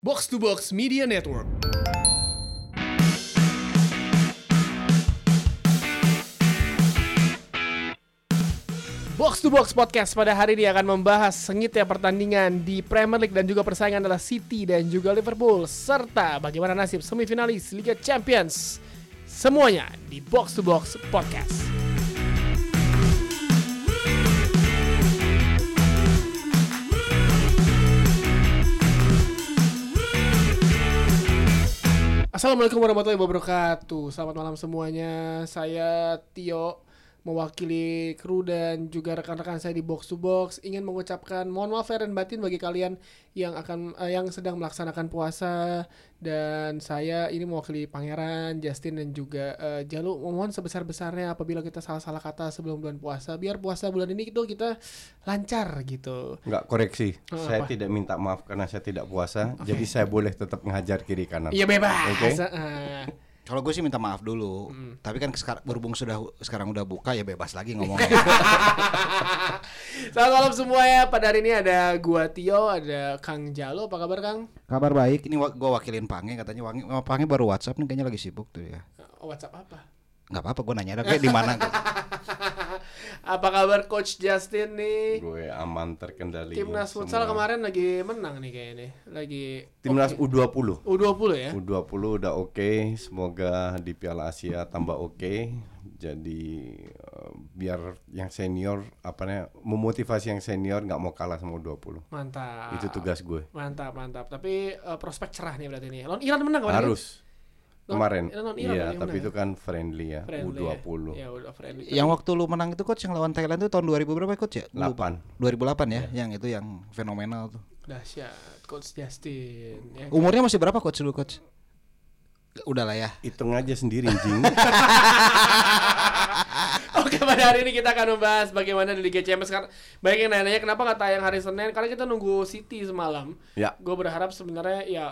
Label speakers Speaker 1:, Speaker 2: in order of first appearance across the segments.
Speaker 1: Box to Box Media Network. Box to Box Podcast pada hari ini akan membahas sengitnya pertandingan di Premier League dan juga persaingan adalah City dan juga Liverpool serta bagaimana nasib semifinalis Liga Champions. Semuanya di Box to Box Podcast. Assalamualaikum warahmatullahi wabarakatuh. Selamat malam semuanya. Saya Tio mewakili kru dan juga rekan-rekan saya di Box to Box ingin mengucapkan mohon maaf lahir dan batin bagi kalian yang akan eh, yang sedang melaksanakan puasa dan saya ini mewakili Pangeran, Justin dan juga eh, Jalu mohon sebesar-besarnya apabila kita salah-salah kata sebelum bulan puasa biar puasa bulan ini itu kita lancar gitu.
Speaker 2: Enggak koreksi,
Speaker 1: Oh,
Speaker 2: saya
Speaker 1: apa?
Speaker 2: tidak minta maaf karena saya tidak puasa, jadi saya boleh tetap menghajar kiri kanan.
Speaker 1: Iya bebas. Eh.
Speaker 2: Oke.
Speaker 1: Heeh.
Speaker 3: Kalau gue sih minta maaf dulu, tapi kan sekar- berhubung sudah sekarang udah buka ya bebas lagi ngomong.
Speaker 1: Selamat malam semua ya. Pada hari ini ada gua Tio, ada Kang Jalo. Apa kabar Kang?
Speaker 3: Kabar baik. Ini wa- gue wakilin Pange katanya Wangi, oh, Pange baru WhatsApp nih kayaknya lagi sibuk tuh ya.
Speaker 1: Oh, WhatsApp apa?
Speaker 3: Gak apa-apa gue nanya kayak di mana.
Speaker 1: Apa kabar Coach Justin nih?
Speaker 2: Gue aman terkendali.
Speaker 1: Timnas futsal kemarin lagi menang nih kayaknya. nih. Lagi
Speaker 2: Timnas
Speaker 1: oke.
Speaker 2: U20.
Speaker 1: U20 ya.
Speaker 2: U20 udah oke, semoga di Piala Asia tambah oke. Jadi eh, biar yang senior apa namanya memotivasi yang senior nggak mau kalah sama U20.
Speaker 1: Mantap.
Speaker 2: Itu tugas gue.
Speaker 1: Mantap, mantap. Tapi eh, prospek cerah nih berarti nih. Lawan Iran menang kemarin.
Speaker 2: Harus.
Speaker 1: Lawan-
Speaker 2: Kemarin.
Speaker 1: lawan Iran
Speaker 2: Iya,
Speaker 1: yang
Speaker 2: tapi
Speaker 1: menang
Speaker 2: itu kan friendly ya,
Speaker 1: ya? Friendly ya?
Speaker 2: U20.
Speaker 1: Ya, udah friendly.
Speaker 3: yang waktu lu menang itu coach yang lawan Thailand itu tahun 2000 berapa coach ya? Lu lupa.
Speaker 2: 8.
Speaker 3: 2008 ya, yang itu yang fenomenal tuh.
Speaker 1: Dahsyat Coach Justin. Ya.
Speaker 3: Umurnya masih berapa coach lu coach? Udah lah ya.
Speaker 2: Hitung aja sendiri, Jing.
Speaker 1: Oke pada hari ini kita akan membahas bagaimana di Liga Champions karena banyak yang nanya kenapa nggak tayang hari Senin karena kita nunggu City semalam.
Speaker 2: ya.
Speaker 1: Gue berharap sebenarnya ya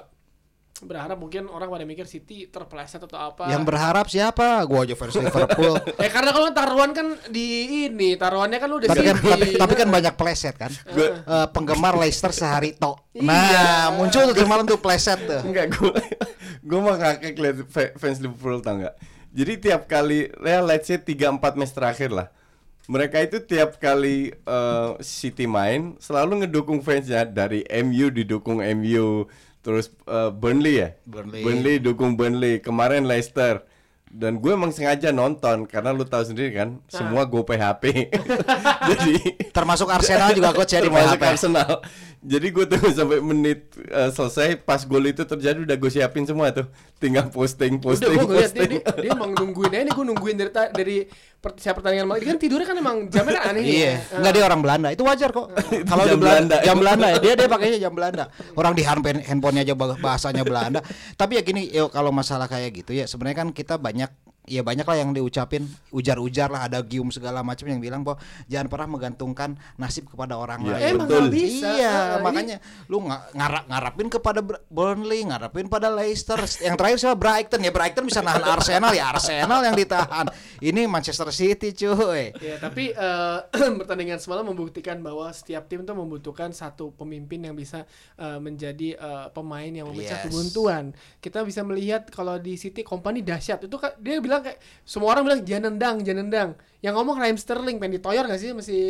Speaker 1: berharap mungkin orang pada mikir City terpleset atau apa.
Speaker 3: Yang berharap siapa? Gue aja fans Liverpool.
Speaker 1: ya karena kalau taruhan kan di ini taruhannya kan lu udah
Speaker 3: tapi kan
Speaker 1: City.
Speaker 3: tapi, tapi kan banyak pleset kan.
Speaker 2: Gue-
Speaker 3: Eh, penggemar Leicester sehari to.
Speaker 1: Iya.
Speaker 3: Nah, muncul tuh kemarin tuh pleset tuh.
Speaker 2: Enggak gue Gue mah ngakak liat fa- fans Liverpool tau nggak Jadi tiap kali ya let's say 3-4 match terakhir lah Mereka itu tiap kali eh, City main Selalu ngedukung fansnya Dari MU didukung MU Terus eh, Burnley ya
Speaker 3: Burnley.
Speaker 2: dukung Burnley Kemarin Leicester dan gue emang sengaja nonton karena lu tahu sendiri kan semua gue PHP jadi
Speaker 3: Termasuk Arsenal juga coach ya di
Speaker 2: termasuk
Speaker 3: PHP.
Speaker 2: Arsenal. Jadi gue tuh sampai menit eh, selesai pas gol itu terjadi udah gue siapin semua tuh. Tinggal posting,
Speaker 1: Udah
Speaker 2: posting,
Speaker 1: gue ngeliat Eh, dia,
Speaker 2: posting.
Speaker 1: dia, dia emang nungguin aja nih gue nungguin dari, ta- dari per- siap pertandingan malam. Dia kan tidurnya kan emang jamnya kan aneh.
Speaker 3: Iya,
Speaker 1: Ah.
Speaker 3: enggak dia orang Belanda. Itu wajar kok. Kalau
Speaker 2: Jam
Speaker 3: di
Speaker 2: Belanda.
Speaker 3: Belanda, jam Belanda ya. Dia dia pakainya jam Belanda. Orang di handphone handphonenya aja bah- bahasanya Belanda. Tapi ya gini, yo kalau masalah kayak gitu ya sebenarnya kan kita banyak ya banyak lah yang diucapin ujar-ujar lah ada gium segala macam yang bilang bahwa jangan pernah menggantungkan nasib kepada orang
Speaker 2: Ya,
Speaker 3: lain.
Speaker 2: Emang betul.
Speaker 1: nggak bisa.
Speaker 3: Iya,
Speaker 1: Nah,
Speaker 3: makanya lu nga- ngara- ngarapin kepada Br- Burnley, ngarapin pada Leicester. Yang terakhir siapa Brighton ya Brighton bisa nahan Arsenal ya Arsenal yang ditahan. Ini Manchester City cuy.
Speaker 1: Ya, tapi eh, pertandingan semalam membuktikan bahwa setiap tim tuh membutuhkan satu pemimpin yang bisa eh, menjadi eh, pemain yang memecah
Speaker 3: Yes.
Speaker 1: kebuntuan. Kita bisa melihat kalau di City company dahsyat. Itu kan- dia bilang kayak semua orang bilang jangan nendang, jangan nendang. Yang ngomong Raheem Sterling pengen ditoyor gak sih masih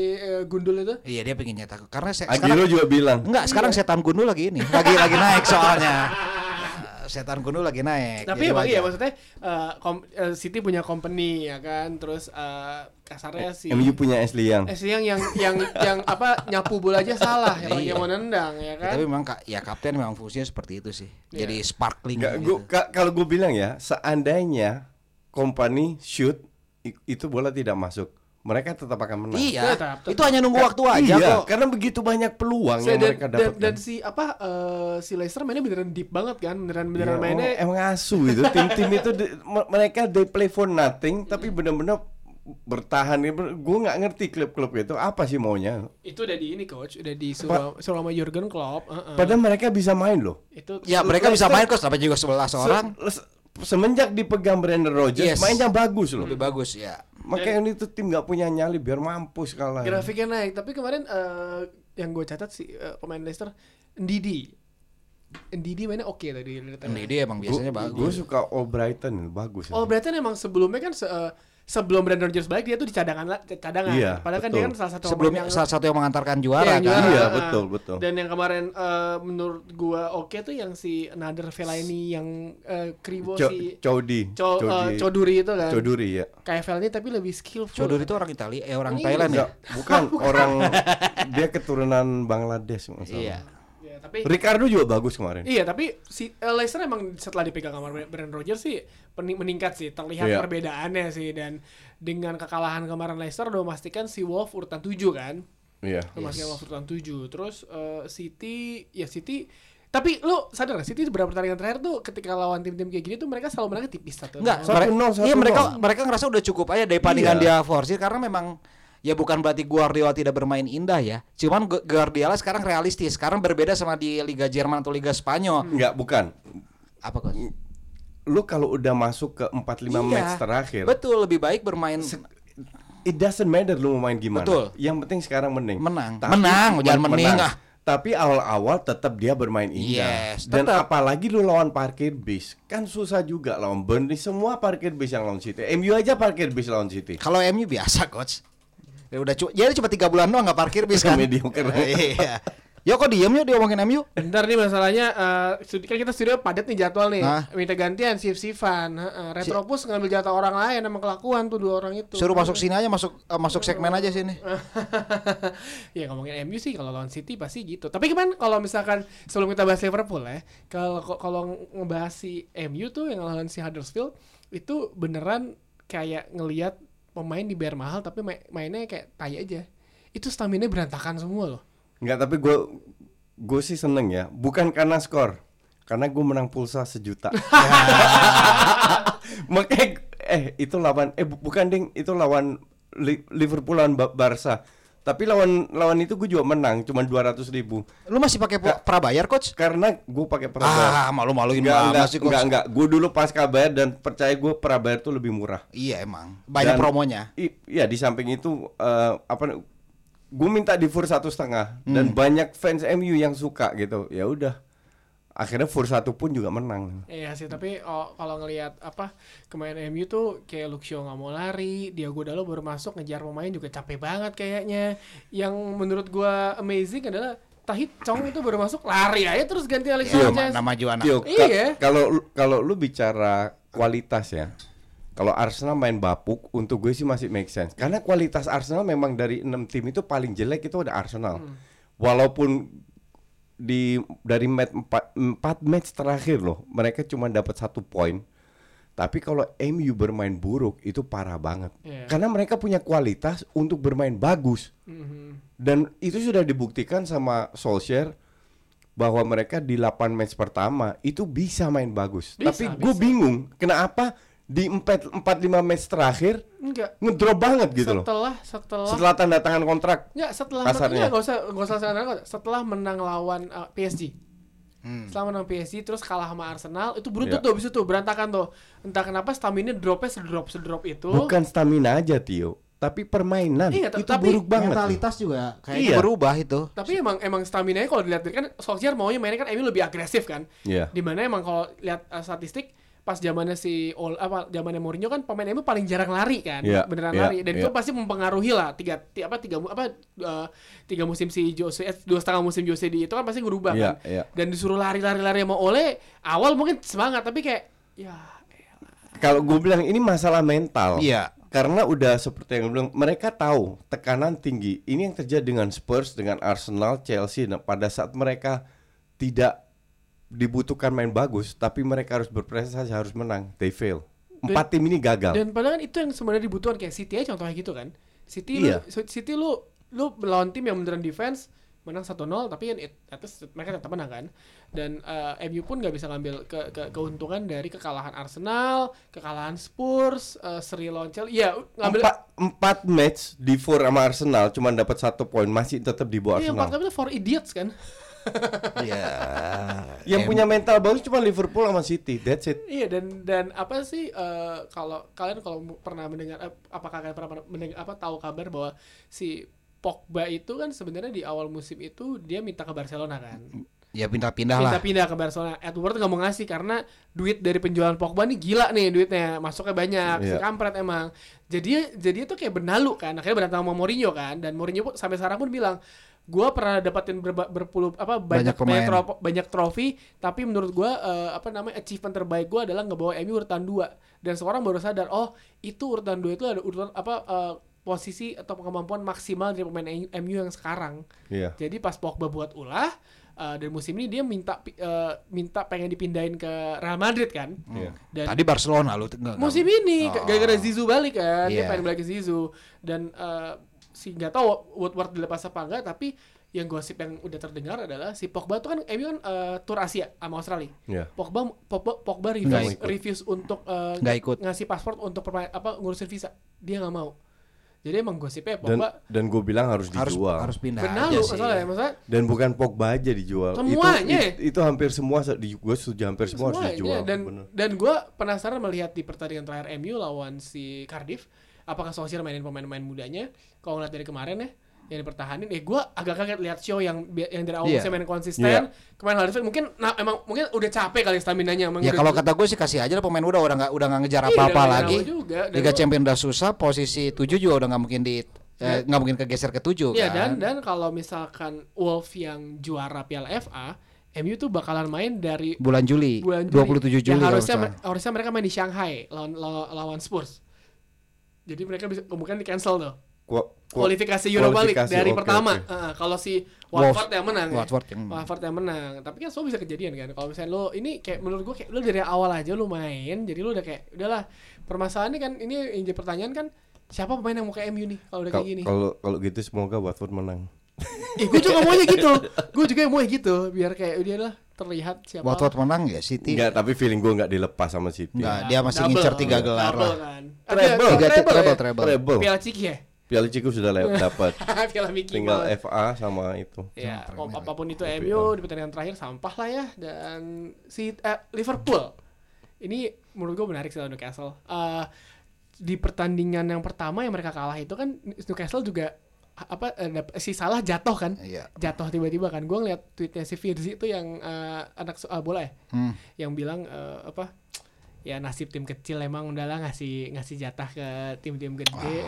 Speaker 1: gundul itu?
Speaker 3: Iya dia pengen nyetak karena se- sekarang
Speaker 2: Agiro juga bilang.
Speaker 3: enggak sekarang
Speaker 1: Iya.
Speaker 3: setan gundul lagi ini lagi lagi naik soalnya Eh, setan gundul lagi naik.
Speaker 1: Tapi
Speaker 3: jadi
Speaker 1: emang iya
Speaker 3: wajar.
Speaker 1: maksudnya eh, kom- eh, City punya company ya kan. Terus eh, kasarnya si
Speaker 2: MU punya Ashley Young.
Speaker 1: Eh, si yang yang yang yang apa nyapu bola aja salah ya, apalagi
Speaker 3: Iya.
Speaker 1: yang mau nendang ya
Speaker 3: Ya,
Speaker 1: kan.
Speaker 3: tapi memang ka- ya kapten memang fungsinya seperti itu sih.
Speaker 1: Iya.
Speaker 3: Jadi sparkling.
Speaker 2: Enggak,
Speaker 3: gitu.
Speaker 2: gua, ka- kalau gue bilang ya, seandainya company shoot i- itu bola tidak masuk, mereka tetap akan menang.
Speaker 3: Iya.
Speaker 1: Tetap, tetap.
Speaker 3: Itu hanya nunggu waktu aja
Speaker 2: Iya,
Speaker 3: kok.
Speaker 2: karena begitu banyak peluang
Speaker 1: Saya
Speaker 2: yang
Speaker 1: dan,
Speaker 2: mereka
Speaker 1: dan,
Speaker 2: dapatkan.
Speaker 1: dan si apa eh, si Leicester mainnya beneran deep banget kan beneran beneran
Speaker 2: Iya,
Speaker 1: mainnya
Speaker 2: emang, emang asu itu tim-tim itu di- me- mereka they play for nothing tapi benar-benar bertahan gue nggak ngerti klub-klub itu apa sih maunya
Speaker 1: itu udah di ini coach udah disuruh suruh sama Jurgen Klopp heeh.
Speaker 2: padahal mereka bisa main loh
Speaker 1: itu Hmm.
Speaker 2: Iya.
Speaker 3: Ya mereka bisa main kok sampai juga 11 orang.
Speaker 2: Se- se- semenjak dipegang Brendan Rodgers
Speaker 3: Yes.
Speaker 2: mainnya bagus loh
Speaker 3: Lebih bagus ya.
Speaker 2: makanya itu tim nggak punya nyali biar mampus kalah
Speaker 1: grafiknya naik tapi kemarin eh, yang gue catat si eh, pemain Leicester Ndidi Ndidi mainnya oke tadi. kelihatannya.
Speaker 3: Ndidi emang biasanya
Speaker 2: Gue
Speaker 3: bagus.
Speaker 2: Iya. suka O Brighton bagus.
Speaker 1: Oh berarti emang sebelumnya kan se- eh, sebelum Brandon Rodgers balik dia tuh di cadangan lah, ca- cadangan.
Speaker 2: Iya,
Speaker 1: Padahal kan
Speaker 2: betul.
Speaker 1: dia kan salah satu pemain
Speaker 3: Sebelumnya
Speaker 1: yang-
Speaker 3: salah satu yang mengantarkan
Speaker 1: Iya,
Speaker 3: juara
Speaker 1: yang
Speaker 3: kan.
Speaker 1: juara,
Speaker 2: Iya,
Speaker 1: ah.
Speaker 2: betul, betul.
Speaker 1: Dan yang kemarin eh, menurut gua oke tuh yang si Nader Fellaini yang eh, kribo
Speaker 2: Co
Speaker 1: si
Speaker 2: Cody.
Speaker 1: Co- eh,
Speaker 2: Cody-
Speaker 1: Coduri itu kan.
Speaker 2: Coduri ya.
Speaker 1: KFL ini tapi lebih skillful.
Speaker 3: Codur itu orang Italia, eh orang
Speaker 1: Iya.
Speaker 3: Thailand ya.
Speaker 2: Enggak, bukan orang dia keturunan Bangladesh masalah.
Speaker 3: Iya.
Speaker 1: Iya, tapi
Speaker 2: Ricardo juga bagus kemarin.
Speaker 1: Iya, tapi si eh, Leicester emang setelah dipegang sama Brand Rodgers sih pening- meningkat sih, terlihat
Speaker 2: Iya.
Speaker 1: perbedaannya sih dan dengan kekalahan kemarin Leicester udah memastikan si Wolf urutan 7 kan.
Speaker 2: Iya.
Speaker 1: Udah memastikan Wolf urutan 7. Terus eh, City ya City tapi lu sadar gak City berapa pertandingan terakhir tuh ketika lawan tim-tim kayak gini tuh mereka selalu menang tipis satu.
Speaker 3: Enggak,
Speaker 2: Satu
Speaker 3: mere-
Speaker 2: nol, satu
Speaker 3: iya mereka
Speaker 2: nol.
Speaker 3: mereka ngerasa udah cukup aja dari pandangan
Speaker 2: Iya.
Speaker 3: dia forsir karena memang ya bukan berarti Guardiola tidak bermain indah ya. Cuman Gu- Guardiola sekarang realistis, sekarang berbeda sama di Liga Jerman atau Liga Spanyol.
Speaker 2: Enggak, bukan.
Speaker 3: Apa kok?
Speaker 2: Lu kalau udah masuk ke 45
Speaker 3: Iya.
Speaker 2: match terakhir,
Speaker 3: Betul, lebih baik bermain
Speaker 2: it doesn't matter lu mau main gimana.
Speaker 3: Betul.
Speaker 2: Yang penting sekarang mending.
Speaker 3: Menang. Menang, jangan mending, ah.
Speaker 2: Tapi awal-awal tetap dia bermain indah.
Speaker 3: Yes,
Speaker 2: Dan
Speaker 3: tetap.
Speaker 2: apalagi lu lawan parkir bis, kan susah juga lawan Burnley semua parkir bis yang lawan City. MU aja parkir bis lawan City.
Speaker 3: Kalau MU biasa coach. Ya udah cu- jadi cuma tiga bulan doang nggak parkir bis kan.
Speaker 2: Mediocre.
Speaker 3: Iya. Yo kok diem yo diomongin MU?
Speaker 1: Bentar nih masalahnya eh, studi- kan kita studio padat nih jadwal nih.
Speaker 3: Hah?
Speaker 1: Minta gantian sif-sifan. Heeh, Retropus ngambil jatah orang lain emang kelakuan tuh dua orang itu.
Speaker 3: Suruh masuk sini aja masuk eh, masuk segmen aja sini.
Speaker 1: ya ngomongin MU sih kalau lawan City pasti gitu. Tapi kemarin kalau misalkan sebelum kita bahas Liverpool ya, kalau kalau ngebahas si MU tuh yang lawan si Huddersfield itu beneran kayak ngelihat pemain dibayar mahal tapi ma- mainnya kayak tai aja. Itu stamina berantakan semua loh.
Speaker 2: Enggak, tapi gue gue sih seneng ya. Bukan karena skor, karena gue menang pulsa sejuta. Makanya eh itu lawan eh bu- bukan ding itu lawan Li- Liverpool lawan Ba- Barca. Tapi lawan lawan itu gue juga menang, cuma 200 ribu.
Speaker 3: Lu masih pakai po- prabayar coach?
Speaker 2: Karena gue pakai prabayar.
Speaker 3: Ah, malu-maluin
Speaker 2: enggak, enggak,
Speaker 3: banget sih coach.
Speaker 2: enggak, enggak. Gue dulu pas kabar dan percaya gue prabayar tuh lebih murah.
Speaker 3: Iya emang. Banyak
Speaker 2: Dan-
Speaker 3: promonya.
Speaker 2: I- Iya di samping itu eh, apa? Gue minta di full satu setengah dan banyak fans MU yang suka gitu. Ya udah. Akhirnya full satu pun juga menang.
Speaker 1: Iya sih, tapi oh, kalau ngelihat apa kemarin MU tuh kayak Luxio nggak mau lari, Diogo Dalo baru masuk ngejar pemain juga capek banget kayaknya. Yang menurut gua amazing adalah Tahit Chong itu baru masuk lari aja terus ganti Alexis
Speaker 3: Iya,
Speaker 1: Sanchez.
Speaker 3: nama Juana.
Speaker 2: Tio, ka-
Speaker 1: Iya.
Speaker 2: kalau lu- kalau lu bicara kualitas ya. Kalau Arsenal main bapuk untuk gue sih masih make sense. Karena kualitas Arsenal memang dari enam tim itu paling jelek itu ada Arsenal.
Speaker 1: Hmm.
Speaker 2: Walaupun di dari match 4, match terakhir loh, mereka cuma dapat satu poin. Tapi kalau MU bermain buruk itu parah banget.
Speaker 1: Iya.
Speaker 2: Karena mereka punya kualitas untuk bermain bagus.
Speaker 1: Mhm.
Speaker 2: Dan itu sudah dibuktikan sama Solskjaer bahwa mereka di 8 match pertama itu bisa main bagus.
Speaker 1: Bisa,
Speaker 2: Tapi gue bingung kenapa di 4 4 5 match terakhir
Speaker 1: Enggak.
Speaker 2: ngedrop banget gitu loh.
Speaker 1: setelah setelah
Speaker 2: Setelah ya. tanda tangan kontrak.
Speaker 1: Enggak, setelah
Speaker 2: Kasarnya.
Speaker 1: enggak, enggak usah enggak usah sekarang, enggak usah. setelah menang lawan uh, PSG. Setelah menang PSG terus kalah sama Arsenal, itu beruntut
Speaker 2: Hmm. Iya.
Speaker 1: tuh abis itu berantakan tuh. Entah kenapa stamina dropnya sedrop sedrop itu.
Speaker 2: Bukan stamina aja, Tio, tapi permainan.
Speaker 1: Iya,
Speaker 2: itu
Speaker 1: tapi
Speaker 2: buruk banget. kayaknya
Speaker 3: juga kayaknya berubah itu.
Speaker 1: Tapi emang emang stamina nya kalau dilihat kan Solskjaer maunya mainnya kan MU lebih agresif kan.
Speaker 2: Iya.
Speaker 1: Dimana emang kalau lihat uh, statistik pas zamannya si Ol, apa zamannya Mourinho kan pemain MU paling jarang lari kan,
Speaker 2: Iya,
Speaker 1: beneran
Speaker 2: iya,
Speaker 1: lari. Dan itu
Speaker 2: iya.
Speaker 1: pasti mempengaruhi lah tiga ti- apa tiga mu- apa uh, tiga musim si Jose eh, dua setengah musim Jose di itu kan pasti berubah
Speaker 2: Iya,
Speaker 1: kan.
Speaker 2: iya.
Speaker 1: Dan disuruh lari-lari-lari sama Ole awal mungkin semangat tapi kayak ya
Speaker 2: Kalau gue bilang ini masalah mental.
Speaker 3: Iya.
Speaker 2: Karena udah seperti yang gue bilang, mereka tahu tekanan tinggi. Ini yang terjadi dengan Spurs, dengan Arsenal, Chelsea. Nah, pada saat mereka tidak dibutuhkan main bagus, tapi mereka harus berprestasi, harus menang. They fail. Empat tim ini gagal.
Speaker 1: Dan padahal kan itu yang sebenarnya dibutuhkan kayak City aja contohnya gitu kan. City
Speaker 2: Iya.
Speaker 1: lu City lu lu melawan tim yang beneran defense menang 1-0 tapi kan it- at least mereka tetap menang kan. Dan eh, MU pun nggak bisa ngambil ke- ke- keuntungan dari kekalahan Arsenal, kekalahan Spurs, eh, seri lawan Chelsea. Iya, ngambil
Speaker 2: empat, empat match di four sama Arsenal, cuma dapat satu poin, masih tetap di bawah
Speaker 1: Iya, empat kali
Speaker 2: Arsenal.
Speaker 1: itu for idiots kan.
Speaker 3: Iya.
Speaker 2: Yang punya mental bagus cuma Liverpool sama City. That's it.
Speaker 1: Iya dan dan apa sih eh, kalau kalian kalau mu- pernah mendengar eh, apakah kalian pernah mendengar apa tahu kabar bahwa si Pogba itu kan sebenarnya di awal musim itu dia minta ke Barcelona kan.
Speaker 3: ya pindah-pindah lah.
Speaker 1: pindah-pindah ke Barcelona. Edward nggak mau ngasih karena duit dari penjualan Pogba nih gila nih duitnya, masuknya banyak,
Speaker 2: Iya.
Speaker 1: kampret emang. Jadi jadi itu kayak benalu kan, akhirnya berantem sama Mourinho kan, dan Mourinho pun sampai sekarang pun bilang, gua pernah dapetin berba- berpuluh apa banyak
Speaker 3: Banyak pemain.
Speaker 1: banyak, tro- banyak trofi, tapi menurut gua eh, apa namanya achievement terbaik gua adalah ngebawa MU urutan 2 dan seorang baru sadar, oh itu urutan 2 itu ada urutan apa eh, posisi atau kemampuan maksimal dari pemain MU yang sekarang.
Speaker 2: Iya.
Speaker 1: Jadi pas Pogba buat ulah uh, dan musim ini dia minta pi- uh, minta pengen dipindahin ke Real Madrid kan.
Speaker 2: Iya.
Speaker 1: Dan
Speaker 3: Tadi Barcelona lu t- nggak-
Speaker 1: musim
Speaker 3: nggak-
Speaker 1: ini
Speaker 3: Hmm. Oh.
Speaker 1: gara-gara Zizou balik kan, dia
Speaker 3: Iya.
Speaker 1: pengen balik ke Zizou dan uh, si nggak tahu Woodward dilepas apa enggak tapi yang gosip yang udah terdengar adalah si Pogba tuh kan MU kan uh, tour Asia sama Australia.
Speaker 2: Iya.
Speaker 1: Pogba Pogba, Pogba refuse,
Speaker 2: Nggak ikut.
Speaker 1: refuse untuk uh,
Speaker 3: Nggak ikut.
Speaker 1: ngasih paspor untuk perma- apa ngurusin visa. Dia nggak mau. Jadi emang gosipnya
Speaker 2: Dan
Speaker 1: Pogba
Speaker 2: dan gue bilang harus
Speaker 3: harus
Speaker 2: dijual.
Speaker 3: harus pindah
Speaker 1: benar loh
Speaker 3: aja nah, iya sih.
Speaker 1: masalahnya, masalah
Speaker 2: Dan bukan Pogba aja dijual. Itu-
Speaker 1: Semuanya.
Speaker 2: Itu, itu, hampir semua gue setuju hampir semua, harus
Speaker 1: Semuanya.
Speaker 2: dijual.
Speaker 1: iya, dan
Speaker 2: Bener.
Speaker 1: dan gue penasaran melihat di pertandingan terakhir MU lawan si Cardiff apakah Solskjaer mainin pemain-pemain mudanya kalau ngeliat dari kemarin ya yang dipertahanin eh gue agak kaget lihat show yang bi- yang dari awal
Speaker 3: Iya.
Speaker 1: musim main konsisten
Speaker 2: Iya.
Speaker 1: kemarin Huddersfield mungkin nah, emang mungkin udah capek kali stamina-nya emang
Speaker 3: Ya
Speaker 1: udah-
Speaker 3: kalau kata gue sih kasih aja lah pemain udah orang nggak udah nggak ngejar
Speaker 1: Iya,
Speaker 3: apa-apa
Speaker 1: udah nggak
Speaker 3: lagi.
Speaker 1: ngejar juga. Dan
Speaker 3: Liga
Speaker 1: gua-
Speaker 3: Champion udah susah, posisi 7 juga udah nggak mungkin di eh, nggak mungkin kegeser ke 7
Speaker 1: Iya dan
Speaker 3: kan.
Speaker 1: dan kalau misalkan Wolf yang juara Piala FA MU tuh bakalan main dari
Speaker 3: bulan Juli,
Speaker 1: bulan Juli.
Speaker 3: 27 Juli.
Speaker 1: Yang
Speaker 3: kalau
Speaker 1: harusnya
Speaker 3: nggak salah.
Speaker 1: harusnya mereka main di Shanghai lawan lawan, lawan Spurs. Jadi mereka bisa kemungkinan di cancel tuh.
Speaker 2: Ku- ku-
Speaker 1: Kualifikasi Europa League
Speaker 2: kualifikasi,
Speaker 1: dari
Speaker 2: oke,
Speaker 1: pertama.
Speaker 2: oke.
Speaker 1: Heeh, kalau si Watford yang menang. ya.
Speaker 3: Watford yang-
Speaker 1: Watford yang menang. Tapi kan semua bisa kejadian kan. Kalau misalnya lo ini kayak menurut gua kayak lo dari awal aja lo main, jadi lo udah kayak udahlah. Permasalahannya kan ini yang jadi pertanyaan kan siapa pemain yang mau ke MU nih kalau udah kayak
Speaker 2: Kal-
Speaker 1: gini.
Speaker 2: Kalau kalau gitu semoga Watford menang.
Speaker 1: Eh, gue juga maunya gitu. Gue juga maunya gitu biar kayak udah lah terlihat siapa.
Speaker 3: Watford menang ya City.
Speaker 2: Enggak, tapi feeling gue nggak dilepas sama City.
Speaker 3: Nggak, dia masih ngincer tiga
Speaker 1: Nah,
Speaker 3: gelar
Speaker 1: double
Speaker 3: lah.
Speaker 1: kan.
Speaker 2: Treble.
Speaker 1: Ada-
Speaker 3: Tiga
Speaker 1: treble,
Speaker 3: treble,
Speaker 1: ya?
Speaker 3: treble.
Speaker 2: Treble.
Speaker 1: Piala Ciki ya?
Speaker 2: Piala Ciku sudah dapat.
Speaker 1: Piala Mickey
Speaker 2: Tinggal
Speaker 1: Mouse.
Speaker 2: FA sama itu.
Speaker 1: Ya, mau apapun itu
Speaker 2: Iya,
Speaker 1: MU di pertandingan terakhir sampah lah ya dan si eh, Liverpool. Ini menurut gue menarik sih lawan Newcastle. Eh, di pertandingan yang pertama yang mereka kalah itu kan Newcastle juga apa eh, dap- si salah jatuh kan?
Speaker 3: Iya.
Speaker 1: Jatuh tiba-tiba kan. Gue ngeliat tweetnya si Firzi itu yang eh, anak so- eh, bola ya,
Speaker 3: Hmm.
Speaker 1: yang bilang eh, apa? Ya nasib tim kecil emang udahlah ngasih ngasih jatah ke tim-tim gede.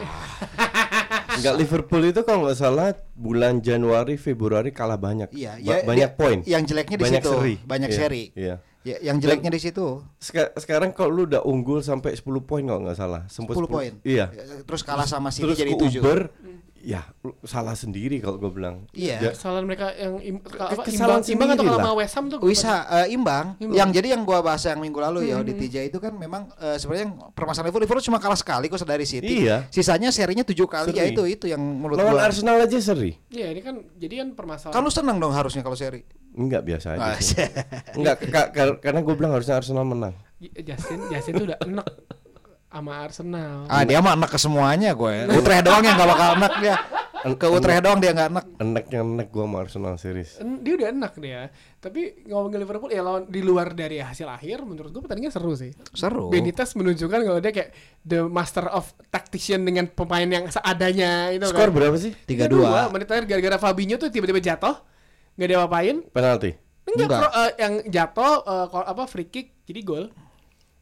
Speaker 2: Enggak Liverpool itu kalau nggak salah bulan Januari Februari kalah banyak.
Speaker 3: Iya,
Speaker 2: Ba-
Speaker 3: ya,
Speaker 2: banyak
Speaker 3: dia-
Speaker 2: poin.
Speaker 3: yang jeleknya di
Speaker 2: banyak
Speaker 3: situ,
Speaker 2: seri.
Speaker 3: banyak
Speaker 2: Iya,
Speaker 3: seri.
Speaker 2: Iya.
Speaker 3: Ya, yang jeleknya di situ.
Speaker 2: Seka- sekarang kalau lu udah unggul sampai 10 poin kalau nggak salah. Sempet
Speaker 3: 10 poin.
Speaker 2: Iya.
Speaker 3: Terus kalah sama City
Speaker 2: Terus
Speaker 3: jadi
Speaker 2: ke
Speaker 3: 7.
Speaker 2: Uber, ya lu salah sendiri kalau gue bilang. Ya,
Speaker 3: Iya.
Speaker 1: Kesalahan mereka yang im- apa,
Speaker 2: kesalahan
Speaker 1: imbang, imbang atau
Speaker 2: sendiri
Speaker 1: kalah
Speaker 2: lah.
Speaker 1: sama West Ham tuh gua-
Speaker 3: Wisa eh, imbang. Yang jadi yang gua bahas yang minggu lalu ya di Tija itu kan memang eh, sebenarnya yang permasalahan Liverpool Liverpool cuma kalah sekali kok dari City.
Speaker 2: Iya.
Speaker 3: Sisanya serinya 7 kali ya
Speaker 2: Seri.
Speaker 3: itu itu yang menurut
Speaker 2: Lawan
Speaker 3: gua.
Speaker 2: Arsenal aja seri.
Speaker 1: Iya ini kan jadi kan permasalahan.
Speaker 3: Kan lu senang dong harusnya kalau seri. Ah,
Speaker 2: Enggak biasa aja. sih.
Speaker 3: Asik.
Speaker 2: Enggak ka- ka- karena gue bilang harusnya Arsenal menang.
Speaker 1: Justin Justin tuh udah enak sama Arsenal.
Speaker 3: ah dia mah enak ke semuanya gue. ya.
Speaker 2: Iya.
Speaker 3: Utrecht doang yang gak bakal enak dia. Ke Utrecht doang dia gak enak.
Speaker 2: Eneknya enek gue sama Arsenal series.
Speaker 1: En- Dia udah enak dia. Tapi ngomongin Liverpool ya lawan di luar dari hasil akhir menurut gua pertandingan seru sih.
Speaker 3: Seru.
Speaker 1: Benitez menunjukkan kalau dia kayak the master of tactician dengan pemain yang seadanya itu kan.
Speaker 2: Skor berapa sih?
Speaker 3: 3-2.
Speaker 1: menit terakhir gara-gara Fabinho tuh tiba-tiba jatuh. Gak diapa-apain.
Speaker 2: Penalti.
Speaker 1: Enggak,
Speaker 3: Enggak.
Speaker 1: Pro- eh, yang jatuh eh, kalau apa free kick jadi gol.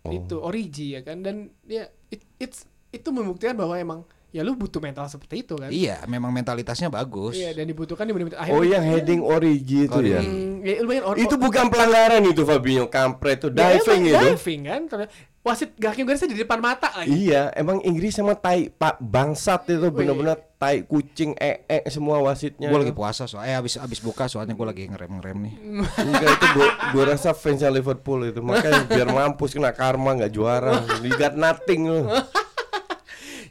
Speaker 2: Oh.
Speaker 1: Itu origi ya kan dan ya it, it's itu membuktikan bahwa emang ya lu butuh mental seperti itu kan.
Speaker 3: Iya, memang mentalitasnya bagus.
Speaker 1: Iya, dan dibutuhkan di menit akhir.
Speaker 2: Oh yang heading Origi itu ya.
Speaker 1: Hmm, ya lumayan or-
Speaker 2: Itu bukan pelanggaran itu Fabinho kampret itu
Speaker 1: ya,
Speaker 2: diving gitu?
Speaker 1: emang
Speaker 2: itu.
Speaker 1: Diving kan. Ternyata- Wasit gak garisnya di depan mata lagi.
Speaker 2: Iya, emang Inggris sama tai pak bangsat itu benar-benar tai kucing ee semua wasitnya.
Speaker 3: Gue lagi puasa soalnya, eh abis abis buka soalnya gue lagi ngerem ngerem nih.
Speaker 2: Enggak itu gua, gua rasa fansnya Liverpool itu makanya biar mampus kena karma nggak juara. You got nothing lu.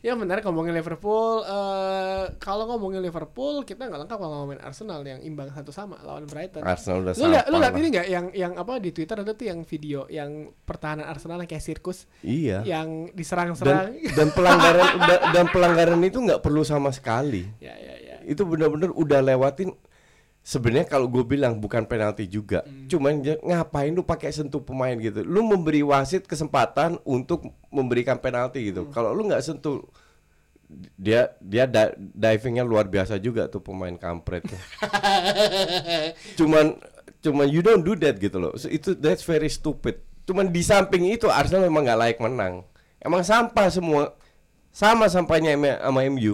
Speaker 1: Ya menarik ngomongin Liverpool. Eh, kalau ngomongin Liverpool, kita nggak lengkap kalau ngomongin Arsenal yang imbang satu sama lawan Brighton.
Speaker 2: Arsenal udah
Speaker 1: lu lihat lu
Speaker 2: sampah
Speaker 1: lihat
Speaker 2: lah.
Speaker 1: ini nggak yang yang apa di Twitter ada tuh yang video yang pertahanan Arsenal yang kayak sirkus
Speaker 2: Iya.
Speaker 1: yang
Speaker 2: Dan
Speaker 1: diserang-serang.
Speaker 2: dan pelanggaran da- dan pelanggaran itu nggak perlu sama sekali.
Speaker 1: ya ya ya.
Speaker 2: Iya. itu benar-benar udah lewatin sebenarnya kalau gue bilang bukan penalti juga cuman dia, ngapain lu pakai sentuh pemain gitu lu memberi wasit kesempatan untuk memberikan penalti gitu kalau lu nggak sentuh dia dia da- divingnya luar biasa juga tuh pemain kampretnya cuman cuma you don't do that gitu loh so, itu that's very stupid cuman di samping itu Arsenal memang nggak layak menang emang sampah semua sama sampahnya M- sama MU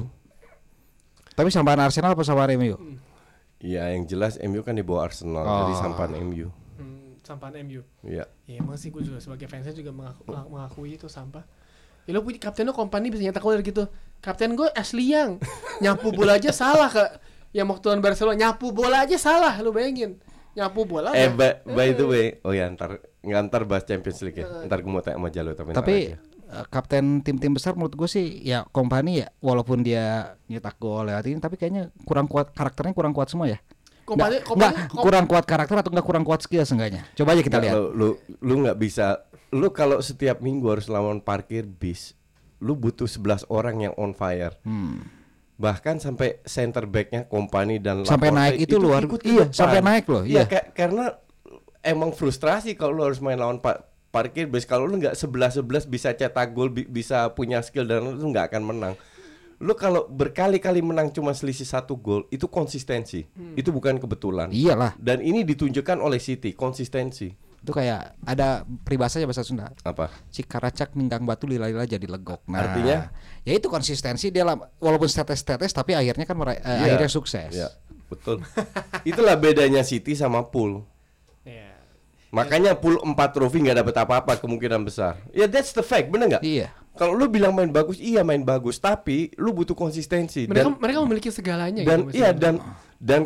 Speaker 3: Tapi sampahan Arsenal apa sampahan MU?
Speaker 2: Iya yang jelas MU kan di bawah Arsenal dari
Speaker 3: Oh.
Speaker 2: sampahan MU
Speaker 1: Hmm, sampahan MU.
Speaker 2: Iya
Speaker 1: Ya emang sih gue juga sebagai fansnya juga mengaku-
Speaker 2: Oh.
Speaker 1: mengaku- mengakui itu sampah. Ya lo punya kapten lo company bisa nyetak gol gitu. Kapten gue Ashley Young nyapu bola aja salah ke yang waktu lawan Barcelona nyapu bola aja salah lo bayangin. Nyapu bola. ya.
Speaker 2: eh ba- by the way oh ya ntar nggak ntar bahas Champions League ya ntar gue mau tanya sama Jalo tapi, ntar
Speaker 3: Tapi
Speaker 2: aja.
Speaker 3: eh, kapten tim-tim besar menurut gue sih ya kompani ya walaupun dia nyetak gol lewat ini tapi kayaknya kurang kuat karakternya kurang kuat semua ya.
Speaker 1: Kompany-
Speaker 3: Nggak-
Speaker 1: kompany-
Speaker 3: nggak,
Speaker 1: kom-
Speaker 3: kurang kuat karakter atau enggak kurang kuat skill seenggaknya. Coba aja kita
Speaker 2: Nggak, lu
Speaker 3: lihat.
Speaker 2: lu lu nggak bisa lu kalau setiap minggu harus lawan parkir bis lu butuh 11 orang yang on fire
Speaker 3: Hmm.
Speaker 2: bahkan sampai center backnya kompani dan
Speaker 3: Sampai
Speaker 2: Laporte
Speaker 3: naik itu luar-
Speaker 2: ikut ke
Speaker 3: iya,
Speaker 2: depan.
Speaker 3: sampai naik loh, iya.
Speaker 2: ka- karena emang frustrasi kalau lu harus main lawan pa- parkir bis kalau lu nggak 11-11 bisa cetak gol bi- bisa punya skill dan lu nggak akan menang lu kalau berkali-kali menang cuma selisih satu gol itu konsistensi
Speaker 3: Hmm.
Speaker 2: itu bukan kebetulan
Speaker 3: Iyalah,
Speaker 2: dan ini ditunjukkan oleh City konsistensi
Speaker 3: itu kayak ada peribahasa ya bahasa Sunda.
Speaker 2: apa
Speaker 3: si karacak ninggang batu lila-lila jadi legok. Nah,
Speaker 2: Artinya?
Speaker 3: ya itu konsistensi dia lam- walaupun tetes-tetes tapi akhirnya kan meraih- eh,
Speaker 2: Iya.
Speaker 3: akhirnya sukses.
Speaker 2: Iya, betul. Itulah bedanya City sama Pool.
Speaker 1: Ya.
Speaker 2: Makanya Pool 4 trofi nggak dapat apa-apa kemungkinan besar. Ya that's the fact, bener nggak?
Speaker 3: Iya.
Speaker 2: Kalau lu bilang main bagus, iya main bagus, tapi lu butuh konsistensi
Speaker 1: Mereka
Speaker 3: kan?
Speaker 2: dan
Speaker 1: mereka memiliki segalanya
Speaker 2: dan
Speaker 1: gitu,
Speaker 2: iya
Speaker 1: maksudnya.
Speaker 2: dan dan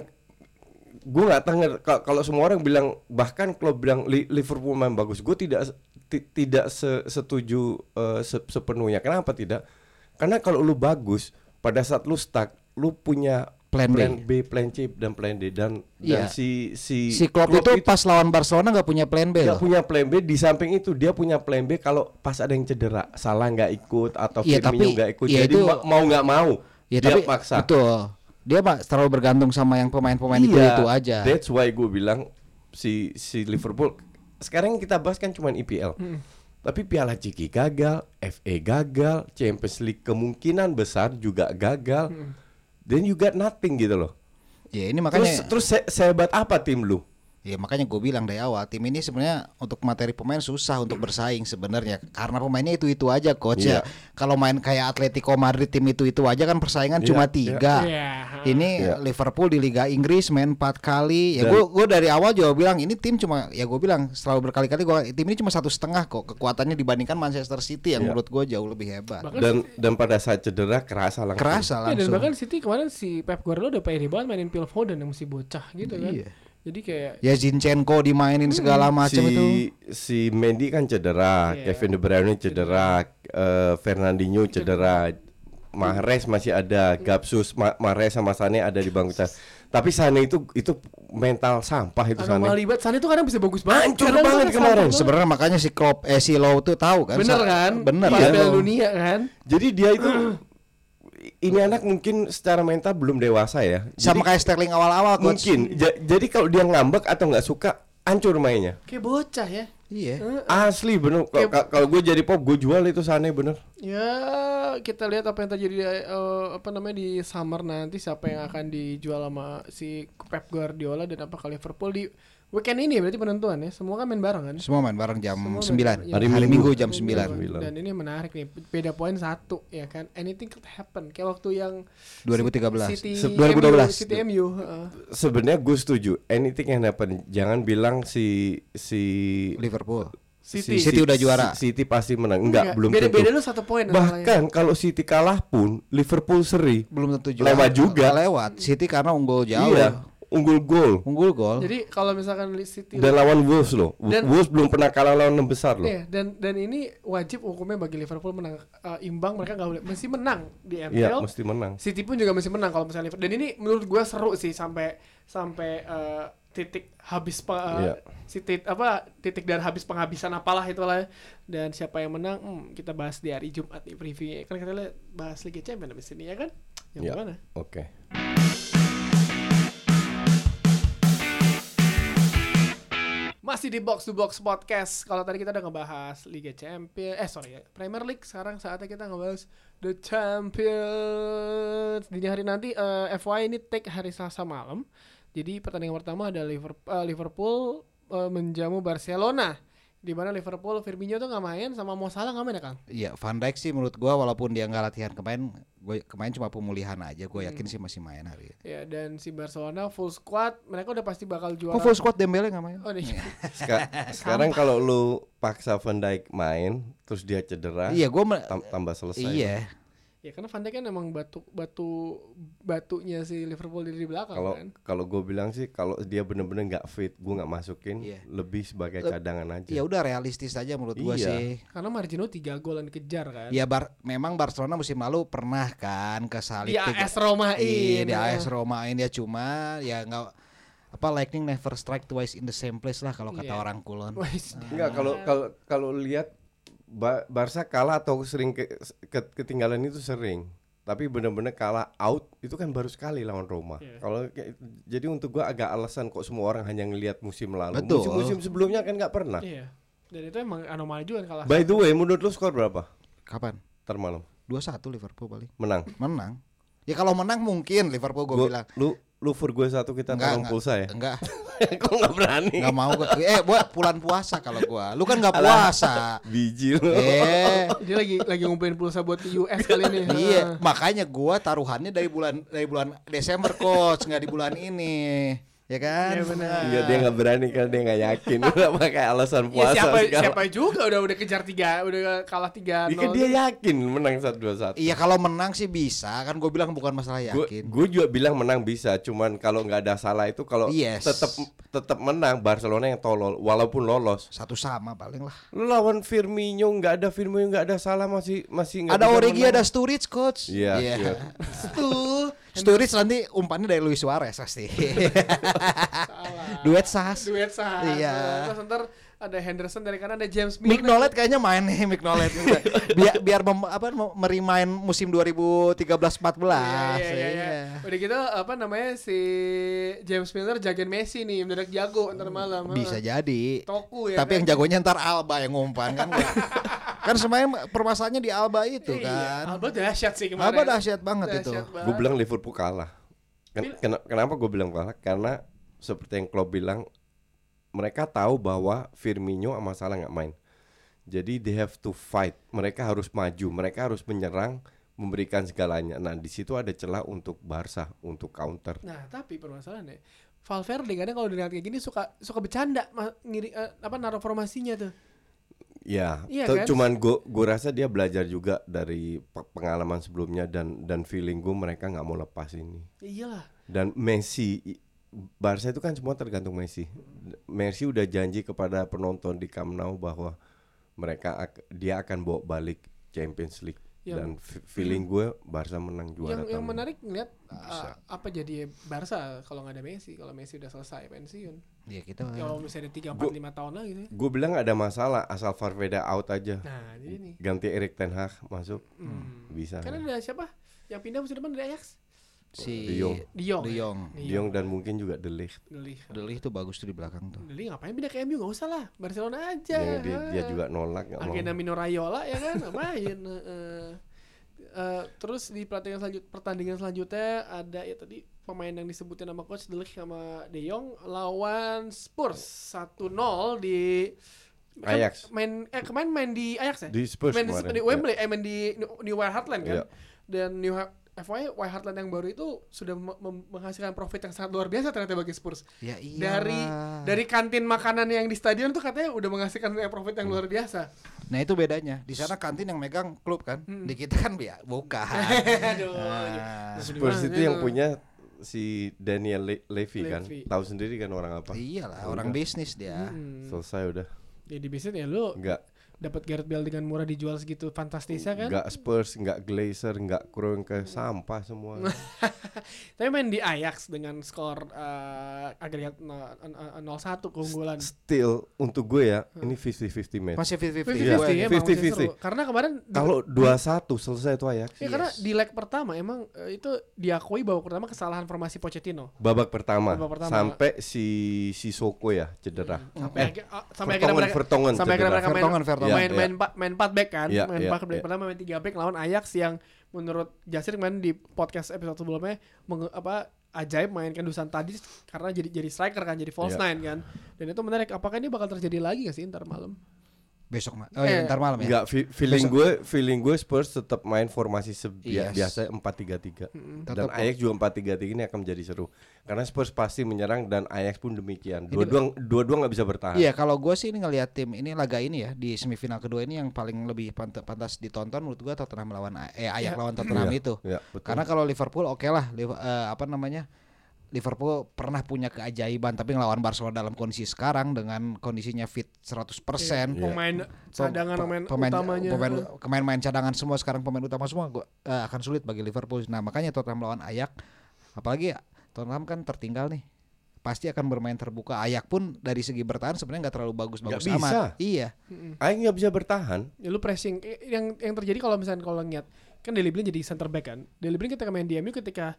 Speaker 2: gue nggak tahu nggak- kalau- kalau semua orang bilang bahkan kalau bilang Li- Liverpool main bagus, gue tidak ti- tidak se- setuju eh, se- sepenuhnya. Kenapa tidak? Karena kalau lu bagus, pada saat lu stuck, lu punya
Speaker 3: Plan B.
Speaker 2: plan B, plan C dan plan D dan dan
Speaker 3: Iya.
Speaker 2: si si
Speaker 3: Si Klopp, itu, pas lawan Barcelona nggak punya plan B
Speaker 2: dia
Speaker 3: loh.
Speaker 2: punya plan B di samping itu dia punya plan B kalau pas ada yang cedera salah nggak ikut atau Firmino
Speaker 3: Iya, tapi-
Speaker 2: nggak ikut
Speaker 3: iya,
Speaker 2: jadi
Speaker 3: itu-
Speaker 2: ma- mau nggak mau
Speaker 3: Ya
Speaker 2: dia
Speaker 3: tapi
Speaker 2: paksa
Speaker 3: betul. Dia Pak terlalu bergantung sama yang pemain-pemain itu
Speaker 2: Iya,
Speaker 3: itu aja.
Speaker 2: that's why gue bilang si si Liverpool sekarang yang kita bahas kan cuma IPL tapi Piala Ciki gagal FA gagal Champions League kemungkinan besar juga gagal then you got nothing gitu loh
Speaker 3: Ya ini makanya
Speaker 2: terus terus se- sehebat apa tim lu
Speaker 3: Ya makanya gue bilang dari awal tim ini sebenarnya untuk materi pemain susah untuk bersaing sebenarnya karena pemainnya itu itu aja coach
Speaker 2: Iya.
Speaker 3: ya. Kalau main kayak Atletico Madrid tim itu itu aja kan
Speaker 2: Iya,
Speaker 3: persaingan
Speaker 2: iya.
Speaker 3: cuma tiga.
Speaker 1: Iya.
Speaker 3: Ini
Speaker 2: Iya.
Speaker 3: Liverpool di Liga Inggris main empat kali. Ya
Speaker 2: Dan-
Speaker 3: gue gue dari awal juga bilang ini tim cuma ya gue bilang selalu berkali-kali gue tim ini cuma satu setengah kok kekuatannya dibandingkan Manchester City
Speaker 2: Iya.
Speaker 3: yang menurut gue jauh lebih hebat.
Speaker 1: Bahkan
Speaker 2: dan dan pada saat cedera kerasa langsung
Speaker 1: Iya, dan
Speaker 3: Kerasa langsung.
Speaker 1: bahkan City kemarin si Pep Guardiola udah pede banget mainin Phil Foden yang masih bocah gitu kan.
Speaker 3: Iya.
Speaker 1: Jadi kayak
Speaker 3: Ya Zinchenko dimainin segala macam
Speaker 2: si,
Speaker 3: itu.
Speaker 2: Si Mendy kan cedera,
Speaker 1: Iya.
Speaker 2: Kevin De Bruyne cedera, eh, Fernandinho cedera, Mahrez masih ada, Gapsus, Ma Mahrez sama Sane ada di bangku cas. Tapi Sane itu itu mental sampah itu Sane.
Speaker 1: anomali banget. Sane tuh kadang bisa bagus banget.
Speaker 2: Hancur
Speaker 1: Kadang
Speaker 2: banget
Speaker 1: bisa
Speaker 2: kemarin.
Speaker 1: hancur
Speaker 3: Oh, Sebenarnya makanya si Klopp eh si Low tuh tahu kan.
Speaker 1: Bener
Speaker 3: Sa-
Speaker 1: kan?
Speaker 3: Bener.
Speaker 1: Pas
Speaker 2: Iya.
Speaker 1: Piala Dunia kan?
Speaker 2: Jadi dia itu ini anak mungkin secara mental belum dewasa ya.
Speaker 3: sama
Speaker 2: Jadi
Speaker 3: kayak Sterling awal-awal coach.
Speaker 2: mungkin. Ja- jadi kalau dia ngambek atau nggak suka, hancur mainnya.
Speaker 1: Kayak bocah ya.
Speaker 3: Iya.
Speaker 2: Asli bener. Kalau- Kalau kalau gue jadi pop, gue jual itu Sane bener.
Speaker 1: Ya, kita lihat apa yang terjadi di, eh, apa namanya di summer nanti siapa yang akan dijual sama si Pep Guardiola dan apakah Liverpool di weekend ini ya, berarti penentuan ya. Semua kan main bareng kan?
Speaker 3: Semua main bareng jam
Speaker 1: Semua main
Speaker 3: 9.
Speaker 1: bareng, Ya, iya.
Speaker 2: Hari
Speaker 3: Hari,
Speaker 2: Minggu.
Speaker 3: Minggu jam
Speaker 1: Ini
Speaker 3: 9
Speaker 1: Dan ini menarik nih, beda poin satu ya kan. Anything could happen. Kayak waktu yang
Speaker 3: 2013.
Speaker 1: City
Speaker 2: Se-
Speaker 1: 2012
Speaker 3: 2012.
Speaker 1: City eh, MU, heeh.
Speaker 2: sebenarnya gue setuju anything yang happen jangan bilang si si Iya.
Speaker 3: Liverpool.
Speaker 1: City.
Speaker 3: City udah juara.
Speaker 2: si- City pasti menang enggak belum
Speaker 1: beda,
Speaker 2: tentu
Speaker 1: Beda lu satu poin masalahnya.
Speaker 2: bahkan kalau City kalah pun Liverpool seri
Speaker 3: Belum tentu
Speaker 2: Lewat juga.
Speaker 3: Lewat. City karena unggul jauh.
Speaker 2: iya unggul gol
Speaker 3: Unggul gol.
Speaker 1: Jadi kalau misalkan City
Speaker 2: dan lawan Wolves loh
Speaker 1: Dan-
Speaker 2: Wolves belum pernah kalah lawan enam besar loh
Speaker 1: Iya, dan dan ini wajib hukumnya bagi Liverpool menang Eh, imbang mereka nggak boleh mesti menang di
Speaker 2: iya
Speaker 1: MPL.
Speaker 2: mesti menang
Speaker 1: City pun juga mesti menang kalau misalnya Liverpool. Dan ini menurut gua seru sih sampai sampai eh, titik habis pe- eh,
Speaker 2: Iya.
Speaker 1: si tit- apa titik dan habis penghabisan apalah itulah ya. dan siapa yang menang hmm, kita bahas di hari Jumat nih previewnya kan kita lihat bahas Liga Champions di sini ya kan yang
Speaker 2: Iya,
Speaker 1: mana
Speaker 2: oke
Speaker 1: Masih di Box to Box Podcast. Kalau tadi kita udah ngebahas Liga Champions, eh sorry ya, Premier League. Sekarang saatnya kita ngebahas The Champions. Dini hari nanti eh, FY ini take hari Selasa malam. Jadi pertandingan pertama ada Liverpool, Liverpool eh, menjamu Barcelona. Di mana Liverpool Firmino tuh nggak main sama Mo Salah nggak main ya Kang?
Speaker 3: Iya, Van Dijk sih menurut gua walaupun dia nggak latihan kemarin, gua kemarin cuma pemulihan aja. Gua yakin sih masih main hari ini.
Speaker 1: Ya dan si Barcelona full squad, mereka udah pasti bakal juara.
Speaker 3: Kok full squad Dembele nggak main?
Speaker 1: Oh, iya.
Speaker 2: Seka- sekarang kalau lu paksa Van Dijk main terus dia cedera
Speaker 3: Iya, gua me-
Speaker 2: tam- tambah selesai
Speaker 3: Iya.
Speaker 1: ya karena Van Dijk kan emang batu batu batunya si Liverpool dari di belakang
Speaker 2: kalau
Speaker 1: kan.
Speaker 2: kalau gue bilang sih kalau dia bener-bener nggak fit gue nggak masukin
Speaker 3: Iya.
Speaker 2: lebih sebagai
Speaker 3: Leb-
Speaker 2: cadangan aja
Speaker 3: Ya udah realistis aja menurut gua
Speaker 2: Iya.
Speaker 3: sih.
Speaker 1: Karena Margino 3 gol yang dikejar kan.
Speaker 3: Ya bar memang Barcelona musim lalu pernah kan kesalip
Speaker 1: Di
Speaker 3: tiga-
Speaker 1: AS Romain.
Speaker 3: Iya, di
Speaker 1: Nah.
Speaker 3: AS Roma ini ya cuma ya nggak apa lightning never strike twice in the same place lah kalau kata
Speaker 1: Iya.
Speaker 3: orang kulon.
Speaker 1: Wais.
Speaker 2: Enggak kalau kalau kalau lihat Ba- Barca kalah atau sering ke- ke- ketinggalan itu sering. Tapi benar-benar kalah out itu kan baru sekali lawan Roma.
Speaker 1: Iya.
Speaker 2: Kalau kayak- jadi untuk gua agak alasan kok semua orang hanya ngelihat musim lalu.
Speaker 3: Betul.
Speaker 2: Musim-musim sebelumnya kan nggak pernah.
Speaker 1: Iya. Dan itu emang anomali juga kan kalah.
Speaker 2: By the way, menurut lu skor berapa?
Speaker 3: Kapan?
Speaker 2: Ntar malam
Speaker 3: 2-1 Liverpool paling.
Speaker 2: menang.
Speaker 3: Menang. Ya kalau menang mungkin Liverpool gue
Speaker 2: Gua-
Speaker 3: bilang.
Speaker 2: lu lu for gue satu kita
Speaker 3: Enggak,
Speaker 2: tolong
Speaker 3: enggak.
Speaker 2: pulsa ya.
Speaker 3: Enggak,
Speaker 2: Kok nggak berani?
Speaker 3: enggak mau gua. Eh, buat bulan puasa kalau gua. Lu kan enggak puasa.
Speaker 2: Biji lu.
Speaker 3: Eh,
Speaker 1: Dia lagi lagi ngumpulin pulsa buat ke US kali ini.
Speaker 3: iya, makanya gua taruhannya dari bulan dari bulan Desember coach, enggak di bulan ini. Ya kan?
Speaker 1: Iya, benar.
Speaker 3: Nah.
Speaker 2: Enggak dia nggak berani kan dia nggak yakin. Udah pakai
Speaker 1: Ya,
Speaker 2: alasan puasa
Speaker 1: siapa
Speaker 2: segala.
Speaker 1: siapa juga udah udah kejar tiga udah kalah tiga
Speaker 2: Iya, kan dia yakin menang 1-2-1.
Speaker 3: Iya kalau menang sih bisa kan gue bilang bukan masalah yakin.
Speaker 2: Gue juga bilang menang bisa, cuman kalau nggak ada salah itu kalau
Speaker 3: Yes.
Speaker 2: tetap tetap menang Barcelona yang tolol, walaupun lolos.
Speaker 3: Satu sama paling lah.
Speaker 2: Lu lawan Firmino nggak ada Firmino nggak ada salah masih masih nggak
Speaker 3: ada
Speaker 2: bisa
Speaker 3: Origi
Speaker 2: menang.
Speaker 3: ada Sturridge coach.
Speaker 2: Iya, iya.
Speaker 3: Stu- Sturridge nanti umpannya dari Luis Suarez pasti.
Speaker 1: Salah.
Speaker 3: Duet sahas.
Speaker 1: Duet sah.
Speaker 3: Iya.
Speaker 1: Terus ntar ada Henderson dari kanan ada James
Speaker 3: Mick
Speaker 1: Milner.
Speaker 3: Nolet kayaknya main nih Mick Nolet. biar biar mem- apa mem- merimain musim 2013-14.
Speaker 1: Iya, iya, iya, iya. Udah gitu apa namanya si James Milner jagain Messi nih mendadak jago ntar malam.
Speaker 3: Iya. Bisa
Speaker 1: Heeh.
Speaker 3: jadi.
Speaker 1: Toku ya.
Speaker 3: Tapi yang
Speaker 1: kan?
Speaker 3: jagonya ntar Alba yang ngumpan kan. kan semuanya permasalahannya di Alba itu
Speaker 1: Iya,
Speaker 3: kan.
Speaker 1: Alba dahsyat sih kemarin.
Speaker 3: Alba dahsyat banget itu.
Speaker 1: Dahsyat banget.
Speaker 2: Gue bilang Liverpool kalah. Ken-
Speaker 1: Bil-
Speaker 2: ken- kenapa gue bilang kalah? Karena seperti yang Klopp bilang, mereka tahu bahwa Firmino sama Salah nggak main. Jadi they have to fight. Mereka harus maju, mereka harus menyerang, memberikan segalanya. Nah di situ ada celah untuk Barca untuk counter.
Speaker 1: Nah, tapi permasalahannya Valverde kadang kalau dilihat kayak gini suka suka bercanda ma- ngiri, eh, apa naruh formasinya tuh.
Speaker 2: Ya,
Speaker 1: Iya
Speaker 2: tu-
Speaker 1: kan?
Speaker 2: cuman gua gua rasa dia belajar juga dari pe- pengalaman sebelumnya dan dan feeling gua mereka nggak mau lepas ini.
Speaker 1: Iyalah.
Speaker 2: Dan Messi i- Barca itu kan semua tergantung Messi. D- Messi udah janji kepada penonton di Camp Nou bahwa mereka ak- dia akan bawa balik Champions League
Speaker 1: Yang-
Speaker 2: dan fe- feeling gue Barca menang juara
Speaker 1: yang yang
Speaker 2: tahun ini.
Speaker 1: menarik ngeliat uh, apa jadi Barca kalau nggak ada Messi, kalau Messi udah selesai pensiun. Ya,
Speaker 3: Iya kita.
Speaker 1: Kalau misalnya tiga empat lima tahun lagi gitu. ya.
Speaker 2: Gue bilang nggak ada masalah asal Valverde out aja.
Speaker 1: Nah, jadi nih. hmm.
Speaker 2: Ganti Erik Ten Hag masuk bisa. Nah,
Speaker 1: Karena ada siapa yang pindah musim depan dari Ajax?
Speaker 3: Si
Speaker 2: De Jong.
Speaker 3: De
Speaker 1: De Jong.
Speaker 3: Jong.
Speaker 2: Diong dan mungkin juga De Ligt.
Speaker 1: Deli.
Speaker 3: Delih tuh bagus tuh di belakang tuh.
Speaker 1: Deli ngapain pindah ke MU? Gak usah lah, Barcelona aja. Ah.
Speaker 2: Dia, Iya, dia, dia juga nolak nggak mau.
Speaker 1: Agenda Mino Raiola ya kan, nggak main. Heeh. Eh, terus di pertandingan selanjut pertandingan selanjutnya ada ya tadi pemain yang disebutin sama coach Delik sama De Jong lawan Spurs 1-0 di kan
Speaker 2: Ajax.
Speaker 1: main eh kemarin main di Ajax ya?
Speaker 2: Di Spurs
Speaker 1: main di,
Speaker 2: kemarin,
Speaker 1: di
Speaker 2: ya.
Speaker 1: Wembley, eh main di New- New White Hart Lane kan.
Speaker 2: Iya.
Speaker 1: Dan New Ha- FYI White Hart Lane yang baru itu sudah me- mem- menghasilkan profit yang sangat luar biasa ternyata bagi Spurs.
Speaker 3: Ya iya.
Speaker 1: Dari dari kantin makanan yang di stadion tuh katanya udah menghasilkan profit
Speaker 2: Iya.
Speaker 1: yang luar biasa.
Speaker 3: Nah itu bedanya. Di sana kantin yang megang klub kan. Di kita kan ya bukan.
Speaker 1: Aduh.
Speaker 3: Ah,
Speaker 2: Spurs
Speaker 1: Nah,
Speaker 2: itu yang punya si Daniel Le- Levy, kan.
Speaker 1: Levy.
Speaker 2: Tahu sendiri kan orang apa?
Speaker 3: iyalah
Speaker 2: Udah.
Speaker 3: orang bisnis dia.
Speaker 2: Selesai udah.
Speaker 1: Hmm. Ya di bisnis ya lu
Speaker 2: Enggak
Speaker 1: dapat Gareth Bale dengan murah dijual segitu fantastisnya kan. Hmm.
Speaker 2: enggak Spurs, enggak Glazer, enggak Kroenke, sampah semua.
Speaker 1: Tapi main di Ajax dengan skor eh, agregat no- eh, 0-1 keunggulan.
Speaker 2: Still untuk gue ya,
Speaker 1: Hmm.
Speaker 2: ini 50-50 match.
Speaker 3: Masih
Speaker 1: 50-50
Speaker 2: Iya,
Speaker 3: 50-50.
Speaker 1: ya, emang masih
Speaker 2: 50-50.
Speaker 1: seru. Karena kemarin di-
Speaker 2: Kalau 2-1 selesai itu Ajax.
Speaker 1: ya, karena di leg pertama emang eh, itu diakui bahwa pertama kesalahan formasi Pochettino.
Speaker 2: Babak pertama,
Speaker 1: Babak pertama.
Speaker 2: sampai si Sissoko ya cedera.
Speaker 1: Sampai akhir- ah, sampai akhirnya
Speaker 2: Vertonghen,
Speaker 1: mereka
Speaker 2: Vertonghen
Speaker 1: sampai akhirnya
Speaker 2: cedera.
Speaker 1: mereka main
Speaker 3: Vertonghen, Vertonghen.
Speaker 1: main
Speaker 2: Iya,
Speaker 1: main pa- main empat back kan,
Speaker 2: Iya,
Speaker 1: main
Speaker 2: iya,
Speaker 1: empat back
Speaker 2: iya.
Speaker 1: pertama main tiga back lawan Ajax yang menurut Jasir kemarin di podcast episode sebelumnya menge- apa ajaib mainkan Dusan tadi karena jadi jadi striker kan jadi false
Speaker 2: Iya.
Speaker 1: nine kan. Dan itu menarik. Apakah ini bakal terjadi lagi gak sih ntar malam?
Speaker 3: besok ma- oh
Speaker 1: Eh,
Speaker 3: iya, ntar malam ya
Speaker 2: Enggak fi- feeling gue feeling gue Spurs tetap main formasi
Speaker 3: Yes.
Speaker 2: sebi- biasa 4-3-3.
Speaker 1: Hmm.
Speaker 2: Dan
Speaker 3: Tetap kok.
Speaker 2: Ajax juga 4-3-3 ini akan menjadi seru. Karena Spurs pasti menyerang dan Ajax pun demikian. Dua-dua dua-dua nggak bisa bertahan.
Speaker 3: Iya kalau gue sih ini ngelihat tim ini laga ini ya di semifinal kedua ini yang paling lebih pant- pantas ditonton menurut gue Tottenham lawan A- eh Ajax lawan Tottenham
Speaker 2: Iya,
Speaker 3: itu
Speaker 2: iya, betul.
Speaker 3: karena kalau Liverpool oke lah Liv- eh, apa namanya Liverpool pernah punya keajaiban tapi ngelawan Barcelona dalam kondisi sekarang dengan kondisinya fit 100%
Speaker 2: Iya.
Speaker 1: Pemain cadangan
Speaker 3: Pe-
Speaker 1: pemain,
Speaker 3: pemain
Speaker 1: utamanya.
Speaker 3: pemain pemain main cadangan semua sekarang pemain utama semua gua, eh, akan sulit bagi Liverpool. Nah, makanya Tottenham lawan Ajax apalagi Tottenham kan tertinggal nih. Pasti akan bermain terbuka. Ajax pun dari segi bertahan sebenarnya nggak terlalu bagus-bagus
Speaker 2: Nggak bisa.
Speaker 3: amat. Iya.
Speaker 2: Ajax nggak bisa bertahan.
Speaker 1: Ya, lu pressing Eh, yang yang terjadi kalau misalnya kalau ngeliat kan Deli Blin jadi center back kan. Deli Blin ketika main di MU ketika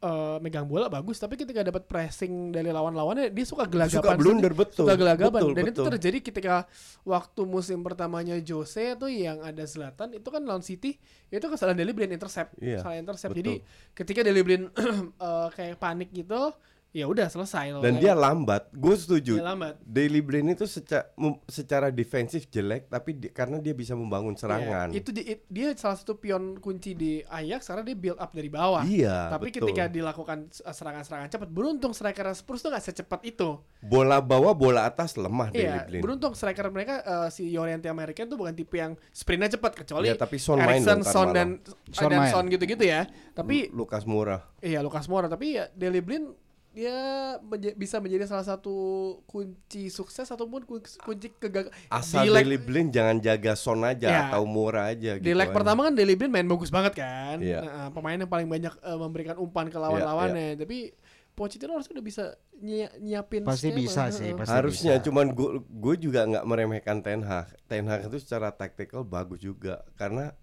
Speaker 1: eh, megang bola bagus tapi ketika dapat pressing dari lawan-lawannya dia suka gelagapan.
Speaker 2: Suka blunder betul.
Speaker 1: Suka gelagapan
Speaker 2: Betul,
Speaker 1: dan itu
Speaker 2: betul.
Speaker 1: terjadi ketika waktu musim pertamanya Jose tuh yang ada Zlatan itu kan lawan City itu kesalahan Deli Blin intercept.
Speaker 2: Iya,
Speaker 1: Salah intercept.
Speaker 2: betul.
Speaker 1: Jadi ketika Deli Blin eh, kayak panik gitu ya udah selesai
Speaker 2: Dan dia lambat. Gue setuju.
Speaker 1: Dia lambat.
Speaker 2: Daily Blind itu seca- mem- secara defensif jelek tapi di- karena dia bisa membangun serangan.
Speaker 1: Iya, itu di- it- dia salah satu pion kunci di Ajax karena dia build up dari bawah.
Speaker 2: Iya,
Speaker 1: Tapi
Speaker 2: betul.
Speaker 1: ketika dilakukan s- serangan-serangan cepat, beruntung striker Spurs tuh nggak secepat itu.
Speaker 2: Bola bawah, bola atas lemah Daily
Speaker 1: Iya,
Speaker 2: Blind.
Speaker 1: beruntung striker mereka eh, si Llorente American tuh bukan tipe yang sprintnya cepat kecuali
Speaker 2: Iya, tapi Son main
Speaker 1: Eriksen,
Speaker 2: dong ntar
Speaker 1: Son
Speaker 2: malam. Hmm.
Speaker 1: dan
Speaker 3: Son
Speaker 1: dan
Speaker 3: main.
Speaker 1: Son gitu-gitu ya. Tapi
Speaker 2: Lukas Moura.
Speaker 1: iya Lucas Moura, tapi ya Deli Blind dia menja- bisa menjadi salah satu kunci sukses ataupun kun- kunci kegagalan.
Speaker 2: Asal Daily Blind jangan jaga Son aja
Speaker 1: Ya.
Speaker 2: atau Moura aja
Speaker 1: Di
Speaker 2: gitu
Speaker 1: leg
Speaker 2: aja.
Speaker 1: pertama kan Deli Blin main bagus banget kan.
Speaker 2: Iya.
Speaker 1: Nah, eh, pemain yang paling banyak eh, memberikan umpan ke lawan-lawannya. Tapi Pochettino harusnya udah bisa nyi- nyiapin skema.
Speaker 3: Pasti bisa
Speaker 1: Heeh.
Speaker 3: sih, pasti
Speaker 2: Harusnya
Speaker 3: bisa.
Speaker 2: cuman gue juga nggak meremehkan Ten Hag. Ten Hag itu secara taktikal bagus juga karena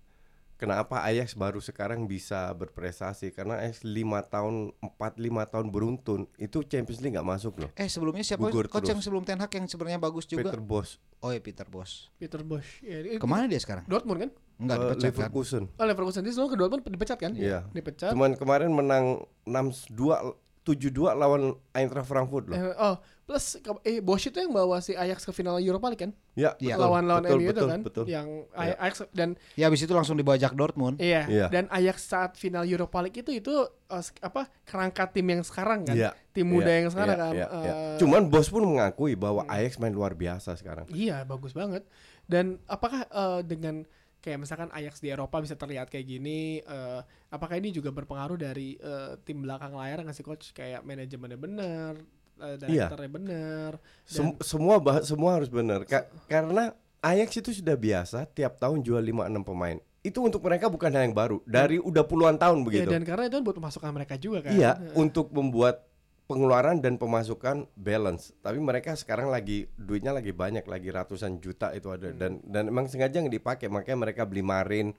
Speaker 2: kenapa Ajax baru sekarang bisa berprestasi karena Ajax 5 tahun 4 5 tahun beruntun itu Champions League nggak masuk loh.
Speaker 3: Eh, sebelumnya siapa
Speaker 2: Gugur
Speaker 3: coach
Speaker 2: terus.
Speaker 3: yang sebelum Ten Hag yang sebenarnya bagus juga?
Speaker 2: Peter Bos
Speaker 3: Oh ya Peter Bos.
Speaker 1: Peter Bosch. Ya, di-
Speaker 3: Kemana dia sekarang?
Speaker 1: Dortmund kan?
Speaker 3: Enggak
Speaker 2: eh,
Speaker 3: dipecat kan?
Speaker 2: Leverkusen.
Speaker 1: Oh, Leverkusen dia sebelum ke Dortmund dipecat kan?
Speaker 2: Iya.
Speaker 1: Dipecat.
Speaker 2: Cuman kemarin menang 6-2 7-2 lawan Eintracht Frankfurt loh.
Speaker 1: Eh, oh, plus ke- eh Bosch itu yang bawa si Ajax ke final Europa League kan?
Speaker 2: Ya,
Speaker 3: Iya.
Speaker 2: betul,
Speaker 1: Lawan-lawan MU
Speaker 2: betul,
Speaker 1: itu
Speaker 2: betul,
Speaker 1: kan?
Speaker 2: Betul.
Speaker 1: Yang
Speaker 2: Iya.
Speaker 1: Ajax dan
Speaker 3: Ya habis itu langsung dibajak Dortmund.
Speaker 1: Iya.
Speaker 2: Iya.
Speaker 1: Dan Ajax saat final Europa League itu itu eh, sk- apa kerangka tim yang sekarang kan?
Speaker 2: Iya,
Speaker 1: Tim muda
Speaker 2: iya,
Speaker 1: yang sekarang
Speaker 2: iya,
Speaker 1: kan.
Speaker 2: iya, iya.
Speaker 1: Eh, Hmm.
Speaker 2: Cuman Bos pun mengakui bahwa Ajax main luar biasa sekarang.
Speaker 1: Iya, bagus banget. Dan apakah eh, dengan kayak misalkan Ajax di Eropa bisa terlihat kayak gini, eh, apakah ini juga berpengaruh dari eh, tim belakang layar nggak sih coach kayak manajemennya benar, eh,
Speaker 2: Iya.
Speaker 1: direkturnya benar.
Speaker 2: Sem- semua bah- semua harus benar Ka- karena Ajax itu sudah biasa tiap tahun jual 5-6 pemain. Itu untuk mereka bukan hal yang baru. Dari udah puluhan tahun
Speaker 1: Ya,
Speaker 2: begitu.
Speaker 1: dan karena itu kan buat pemasukan mereka juga kan.
Speaker 2: Iya, untuk membuat pengeluaran dan pemasukan balance. Tapi mereka sekarang lagi duitnya lagi banyak, lagi ratusan juta itu ada
Speaker 1: Hmm.
Speaker 2: dan dan emang sengaja nggak dipakai, makanya mereka beli Marin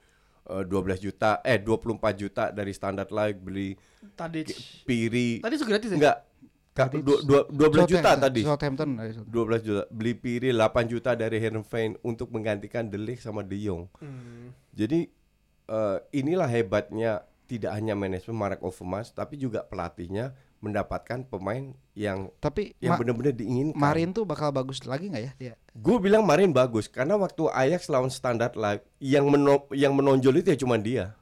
Speaker 2: eh, 12 juta, eh 24 juta dari standar lagi beli
Speaker 1: Tadi
Speaker 2: Piri.
Speaker 1: tadi ya? sudah gratis ya?
Speaker 2: Enggak. Ka- dua- dua- 12 juta
Speaker 3: Southampton-
Speaker 2: tadi.
Speaker 3: Southampton. eh, Southampton.
Speaker 2: 12 juta beli Piri 8 juta dari Herenveen untuk menggantikan Delik sama De Jong.
Speaker 1: Hmm.
Speaker 2: Jadi eh, inilah hebatnya tidak hanya manajemen Mark Overmars tapi juga pelatihnya mendapatkan pemain yang
Speaker 3: Tapi
Speaker 2: yang
Speaker 3: Ma-
Speaker 2: benar-benar diinginkan.
Speaker 3: Marin tuh bakal bagus lagi nggak ya dia?
Speaker 2: Gue bilang Marin bagus karena waktu Ajax lawan Standard Live yang meno- yang menonjol itu ya cuma dia.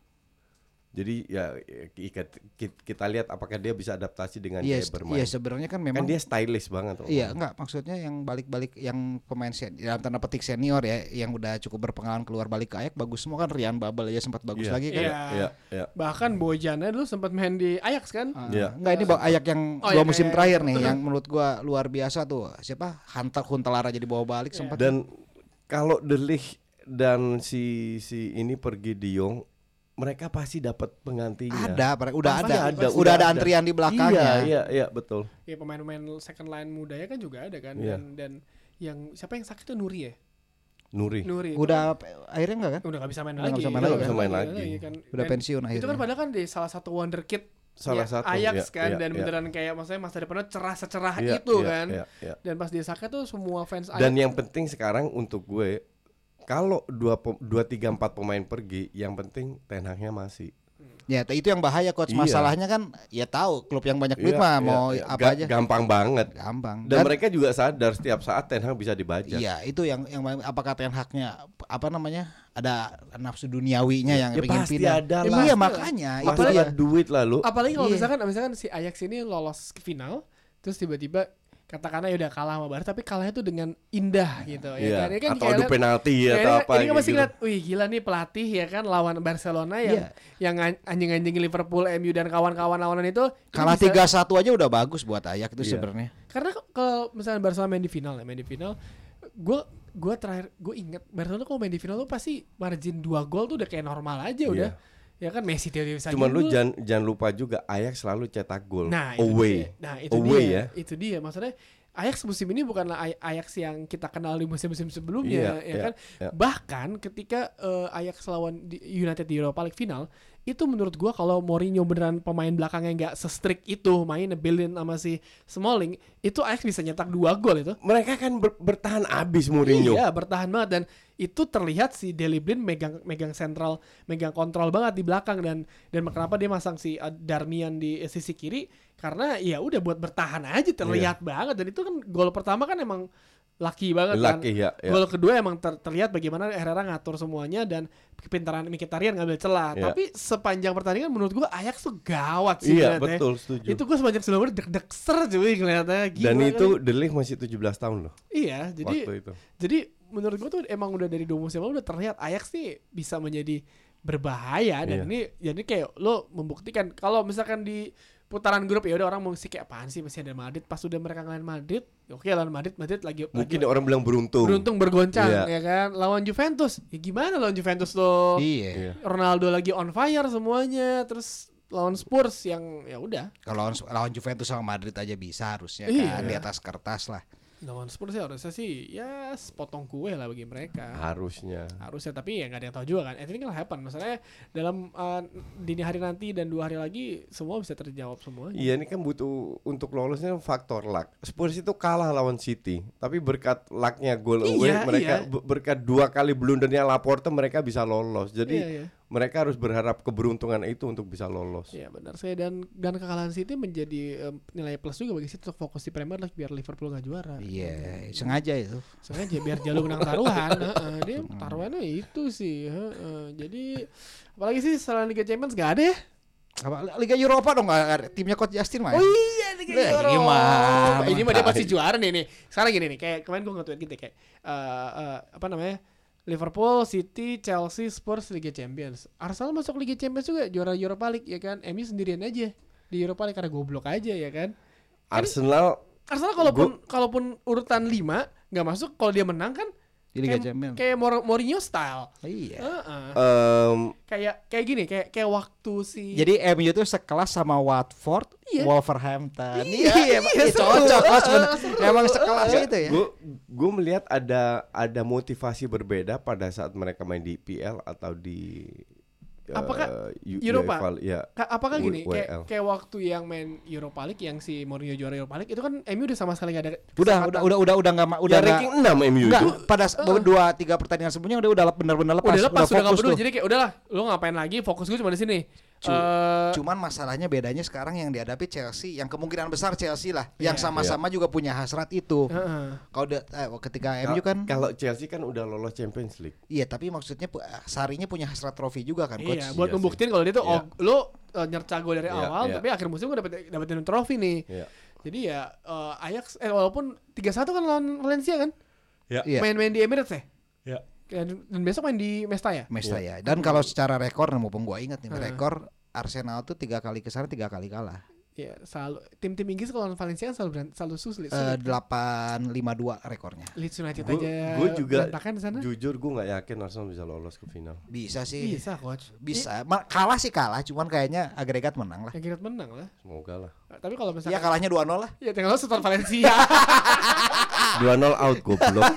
Speaker 2: Jadi ya ikat- ki- kita lihat apakah dia bisa adaptasi dengan Kan
Speaker 3: Iya,
Speaker 2: dia bermain.
Speaker 3: iya sebenarnya kan
Speaker 2: kan
Speaker 3: memang
Speaker 2: dia stylish banget loh.
Speaker 3: Iya, enggak maksudnya yang balik-balik yang pemain sen dalam tanda petik senior ya yang udah cukup berpengalaman keluar balik ke Ajax bagus semua kan Rian Babel aja sempat
Speaker 2: Iya,
Speaker 3: bagus lagi kan.
Speaker 1: Iya.
Speaker 2: Iya, iya.
Speaker 1: Bahkan Bojana dulu sempat main di Ajax kan?
Speaker 3: Ah,
Speaker 2: Iya.
Speaker 3: Enggak ini bawa Ajax yang
Speaker 1: Oh,
Speaker 3: dua
Speaker 1: iya,
Speaker 3: musim
Speaker 1: iya,
Speaker 3: terakhir nih yang menurut gua luar biasa tuh. Siapa? Hunter Huntelara jadi bawa balik
Speaker 1: Iya.
Speaker 3: sempat.
Speaker 2: Dan kalau Delik dan si si ini pergi di Yong, mereka pasti dapat penggantinya.
Speaker 3: Ada, mereka- udah
Speaker 2: iya. Pasti
Speaker 3: ada, udah ada antrian di belakangnya.
Speaker 2: Iya, iya, iya, betul.
Speaker 1: Ya pemain-pemain second line mudanya kan juga ada kan
Speaker 2: Iya.
Speaker 1: dan dan yang siapa yang sakit tuh Nuri ya?
Speaker 2: Nuri.
Speaker 1: Nuri. itu
Speaker 3: Udah akhirnya enggak kan?
Speaker 1: udah gak bisa main
Speaker 3: Udah
Speaker 1: lagi.
Speaker 3: nggak bisa
Speaker 1: Udah
Speaker 2: lagi.
Speaker 3: main
Speaker 1: nggak
Speaker 2: Nggak bisa main lagi.
Speaker 1: kan.
Speaker 3: Udah
Speaker 1: Dan
Speaker 3: pensiun akhirnya.
Speaker 1: Itu kan padahal kan di salah satu wonder kid
Speaker 2: Salah satu,
Speaker 1: Ajax
Speaker 2: iya,
Speaker 1: kan
Speaker 2: iya,
Speaker 1: dan
Speaker 2: iya.
Speaker 1: beneran kayak maksudnya masa depannya cerah secerah
Speaker 2: Iya,
Speaker 1: itu
Speaker 2: iya,
Speaker 1: kan.
Speaker 2: iya, iya.
Speaker 1: Dan pas dia sakit tuh semua fans Ajax
Speaker 2: Dan yang penting sekarang untuk gue kalau dua pem- dua tiga empat pemain pergi, yang penting Ten Hag-nya masih.
Speaker 3: Ya, t- itu yang bahaya coach.
Speaker 2: Iya.
Speaker 3: Masalahnya kan ya tahu klub yang banyak duit
Speaker 2: Iya,
Speaker 3: mah
Speaker 2: iya,
Speaker 3: mau
Speaker 2: iya.
Speaker 3: apa
Speaker 2: Ga-
Speaker 3: aja
Speaker 2: Gampang banget.
Speaker 3: gampang.
Speaker 2: Dan, mereka juga sadar setiap saat Ten Hag bisa dibajak.
Speaker 3: Iya, itu yang yang apakah Ten Hag-nya apa namanya? Ada nafsu duniawinya yang
Speaker 2: Ya
Speaker 3: pengen
Speaker 2: pasti
Speaker 3: pindah.
Speaker 2: ada
Speaker 3: Ya,
Speaker 2: lah.
Speaker 3: Iya, makanya
Speaker 2: Pasti
Speaker 3: itu
Speaker 2: ada
Speaker 3: dia.
Speaker 2: duit lah lu.
Speaker 1: Apalagi kalau
Speaker 3: Iya.
Speaker 1: misalkan misalkan si Ajax ini lolos ke final, terus tiba-tiba katakanlah ya udah kalah sama Barca tapi kalahnya tuh dengan indah gitu ya
Speaker 2: Iya.
Speaker 1: kan. Ini kan
Speaker 2: atau
Speaker 1: kayak
Speaker 2: adu
Speaker 1: liat-
Speaker 2: penalti
Speaker 1: Ya,
Speaker 2: atau
Speaker 1: ini-
Speaker 2: apa
Speaker 1: ini kan
Speaker 2: kayak
Speaker 1: masih
Speaker 2: gitu.
Speaker 1: ngeliat, wih gila nih pelatih ya kan lawan Barcelona yang
Speaker 3: Iya.
Speaker 1: yang an- anjing-anjing Liverpool, MU dan kawan-kawan lawanan itu ini
Speaker 3: Kalah
Speaker 1: bisa-
Speaker 3: 3-1 aja udah bagus buat Ayak itu
Speaker 2: Iya.
Speaker 3: sebenarnya.
Speaker 1: Karena k- kalau misalnya Barcelona main di final ya, main di final, gue gue terakhir gue inget Barcelona kalau main di final tuh pasti margin 2 gol tuh udah kayak normal aja udah. Ya kan Messi tiba-tiba bisa
Speaker 2: Iya. Cuman lu
Speaker 1: gol.
Speaker 2: jangan jangan lupa juga Ajax selalu cetak gol
Speaker 1: Nah, itu
Speaker 2: away.
Speaker 1: dia. Nah, itu
Speaker 2: away
Speaker 1: dia.
Speaker 2: ya.
Speaker 1: Itu dia. Maksudnya Ajax musim ini bukanlah Aj- Ajax yang kita kenal di musim-musim sebelumnya,
Speaker 2: Iya,
Speaker 1: ya
Speaker 2: iya,
Speaker 1: kan?
Speaker 2: iya.
Speaker 1: Bahkan ketika eh, Ajax lawan di- United di Europa League final, itu menurut gua kalau Mourinho beneran pemain belakangnya nggak se-strict itu, main ngebelin sama si Smalling, itu Ajax bisa nyetak dua gol itu.
Speaker 2: Mereka kan ber- bertahan abis Mourinho.
Speaker 1: Iya, bertahan banget dan itu terlihat si Deli Blind megang megang sentral, megang kontrol banget di belakang dan dan kenapa dia masang si uh, Darmian di eh, sisi kiri karena ya udah buat bertahan aja
Speaker 2: Iya.
Speaker 1: terlihat banget dan itu kan gol pertama kan emang laki banget kan.
Speaker 2: Lucky, ya, ya.
Speaker 1: Gol kedua emang ter- terlihat bagaimana Herrera ngatur semuanya dan kepintaran Mkhitaryan ngambil celah.
Speaker 2: Iya.
Speaker 1: Tapi sepanjang pertandingan menurut gua Ajax tuh gawat sih
Speaker 2: Iya,
Speaker 1: ngeliatnya.
Speaker 2: betul, setuju.
Speaker 1: ya. Itu gua sepanjang sebelumnya deg-deg ser cuy ngeliatnya. Gila
Speaker 2: Dan
Speaker 1: kali.
Speaker 2: itu De Ligt masih 17 tahun loh
Speaker 1: Iya, jadi
Speaker 2: waktu itu.
Speaker 1: jadi menurut gue tuh emang udah dari dua musim lalu udah terlihat Ajax nih bisa menjadi berbahaya dan
Speaker 2: Iya.
Speaker 1: ini jadi kayak lo membuktikan kalau misalkan di putaran grup ya udah orang mau sih kayak apaan sih masih ada Madrid pas udah mereka ngalahin Madrid ya oke lawan Madrid Madrid lagi
Speaker 2: Mungkin
Speaker 1: lagi
Speaker 2: orang bilang beruntung.
Speaker 1: beruntung bergoncang
Speaker 2: Iya.
Speaker 1: ya kan lawan Juventus ya gimana lawan Juventus lo
Speaker 3: Iya.
Speaker 2: Iya.
Speaker 1: Ronaldo lagi on fire semuanya terus lawan Spurs yang ya udah
Speaker 3: Kalau lawan, lawan Juventus sama Madrid aja bisa harusnya
Speaker 1: Iya.
Speaker 3: kan di atas kertas lah.
Speaker 1: lawan Spurs ya harusnya sih ya sepotong kue lah bagi mereka
Speaker 2: Harusnya.
Speaker 1: harusnya tapi ya nggak ada yang tahu juga kan anything can happen maksudnya dalam uh, dini hari nanti dan dua hari lagi semua bisa terjawab semuanya
Speaker 2: Iya ini kan butuh untuk lolosnya kan faktor luck. Spurs itu kalah lawan City, tapi berkat lucknya gol away
Speaker 1: Iya,
Speaker 2: mereka
Speaker 1: iya.
Speaker 2: be- berkat dua kali blundernya Laporte mereka bisa lolos. Jadi
Speaker 1: Iya, iya.
Speaker 2: mereka harus berharap keberuntungan itu untuk bisa lolos.
Speaker 1: ya benar saya dan dan kekalahan City menjadi um, nilai plus juga bagi City untuk fokus di Premier League biar Liverpool nggak juara
Speaker 3: Iya, sengaja itu.
Speaker 1: sengaja biar Jalo menang taruhan Heeh, dia
Speaker 2: Hmm.
Speaker 1: taruhannya itu sih Heeh, jadi apalagi sih selain Liga Champions nggak ada ya
Speaker 3: Apa, Liga Eropa dong nggak ada. timnya coach Justin ya? main.
Speaker 1: Oh iya Liga
Speaker 3: Lah,
Speaker 1: Eropa.
Speaker 3: gimana?
Speaker 1: Ini mah dia pasti juara nih nih. Sekarang gini nih, kayak kemarin gue nge-tweet gitu ya, kayak eh, eh, apa namanya? Liverpool, City, Chelsea, Spurs Liga Champions. Arsenal masuk Liga Champions juga juara Europa League ya kan. Emi sendirian aja di Europa League karena goblok aja ya kan.
Speaker 2: Arsenal
Speaker 1: Arsenal kalaupun kalaupun urutan 5 nggak masuk kalau dia menang kan
Speaker 3: Di Liga
Speaker 1: kayak-
Speaker 3: Champions.
Speaker 1: Kayak Mor- Mourinho style.
Speaker 3: Iya.
Speaker 1: Heeh.
Speaker 2: em,
Speaker 1: Kayak kayak gini, kayak kayak waktu si
Speaker 3: Jadi MU itu sekelas sama Watford,
Speaker 1: Iya.
Speaker 3: Wolverhampton.
Speaker 1: Iya,
Speaker 3: Pak.
Speaker 1: iya,
Speaker 3: Ih,
Speaker 1: seru.
Speaker 3: cocok lah sebenarnya.
Speaker 1: Seru. Iya.
Speaker 3: Emang sekelas itu ya.
Speaker 2: Gue gue melihat ada ada motivasi berbeda pada saat mereka main di PL atau di eh,
Speaker 1: Apakah
Speaker 2: U-
Speaker 1: Eropa?
Speaker 2: UEFA, ya.
Speaker 1: Ka- apakah
Speaker 2: W-
Speaker 1: gini
Speaker 2: WL.
Speaker 1: kayak, kayak waktu yang main Europa League yang si Mourinho juara Europa League itu kan MU udah sama sekali gak ada
Speaker 3: Udah,
Speaker 1: kesempatan.
Speaker 3: udah, udah, udah, udah nggak, ma- udah
Speaker 2: ya
Speaker 3: nggak.
Speaker 2: ranking 6 MU
Speaker 3: Enggak,
Speaker 2: itu.
Speaker 3: pada s- dua tiga pertandingan sebelumnya udah udah lep- benar-benar lepas,
Speaker 1: udah lepas udah nggak
Speaker 3: fokus
Speaker 1: peduli
Speaker 3: tuh.
Speaker 1: jadi kayak udahlah lu ngapain lagi fokus gue cuma di sini
Speaker 3: Cu-
Speaker 1: Eh,
Speaker 3: Cuman masalahnya bedanya sekarang yang dihadapi Chelsea, yang kemungkinan besar Chelsea lah, yang
Speaker 1: Iya.
Speaker 3: sama-sama juga punya hasrat itu.
Speaker 1: heeh.
Speaker 3: Kalau udah- eh, ketika
Speaker 2: Kal-
Speaker 3: MU kan,
Speaker 2: kalau Chelsea kan udah lolos Champions League.
Speaker 3: iya tapi maksudnya pu- eh, Sarinya punya hasrat trofi juga kan, coach.
Speaker 1: iya buat
Speaker 2: Iya sih.
Speaker 1: ngebuktiin kalau dia tuh
Speaker 2: Iya.
Speaker 1: oh, lu eh, nyerca gue dari
Speaker 2: Iya,
Speaker 1: awal
Speaker 2: iya.
Speaker 1: tapi akhir musim gue dapet dapetin trofi nih
Speaker 2: Iya.
Speaker 1: jadi ya eh, Ajax eh walaupun 3-1 kan lawan Valencia kan
Speaker 3: Iya.
Speaker 1: main-main di Emirates ya
Speaker 2: Ya.
Speaker 1: dan, dan besok main di Mestaya
Speaker 3: Mesta ya. Dan kalau secara rekor, nih, mumpung gua ingat nih, rekor Arsenal tuh tiga kali ke sana, tiga kali kalah.
Speaker 1: ya selalu tim-tim Inggris kalau lawan Valencia kan selalu beran- selalu sulit,
Speaker 3: Eh,
Speaker 1: sulit.
Speaker 3: 852 rekornya.
Speaker 1: Leeds United
Speaker 2: Gue
Speaker 1: aja
Speaker 2: juga
Speaker 1: berantakan di sana
Speaker 2: jujur gue nggak yakin Arsenal bisa lolos ke final.
Speaker 3: Bisa sih.
Speaker 1: bisa coach
Speaker 3: Bisa. Ma- kalah sih kalah, cuman kayaknya agregat menang lah.
Speaker 1: Ya Giroud menang lah.
Speaker 2: Semoga lah.
Speaker 1: Eh, Tapi kalau
Speaker 3: Iya
Speaker 1: misalkan
Speaker 3: kalahnya 2-0 lah. Ah.
Speaker 1: ya tinggal lo setor Valencia.
Speaker 2: 2-0 out goblok.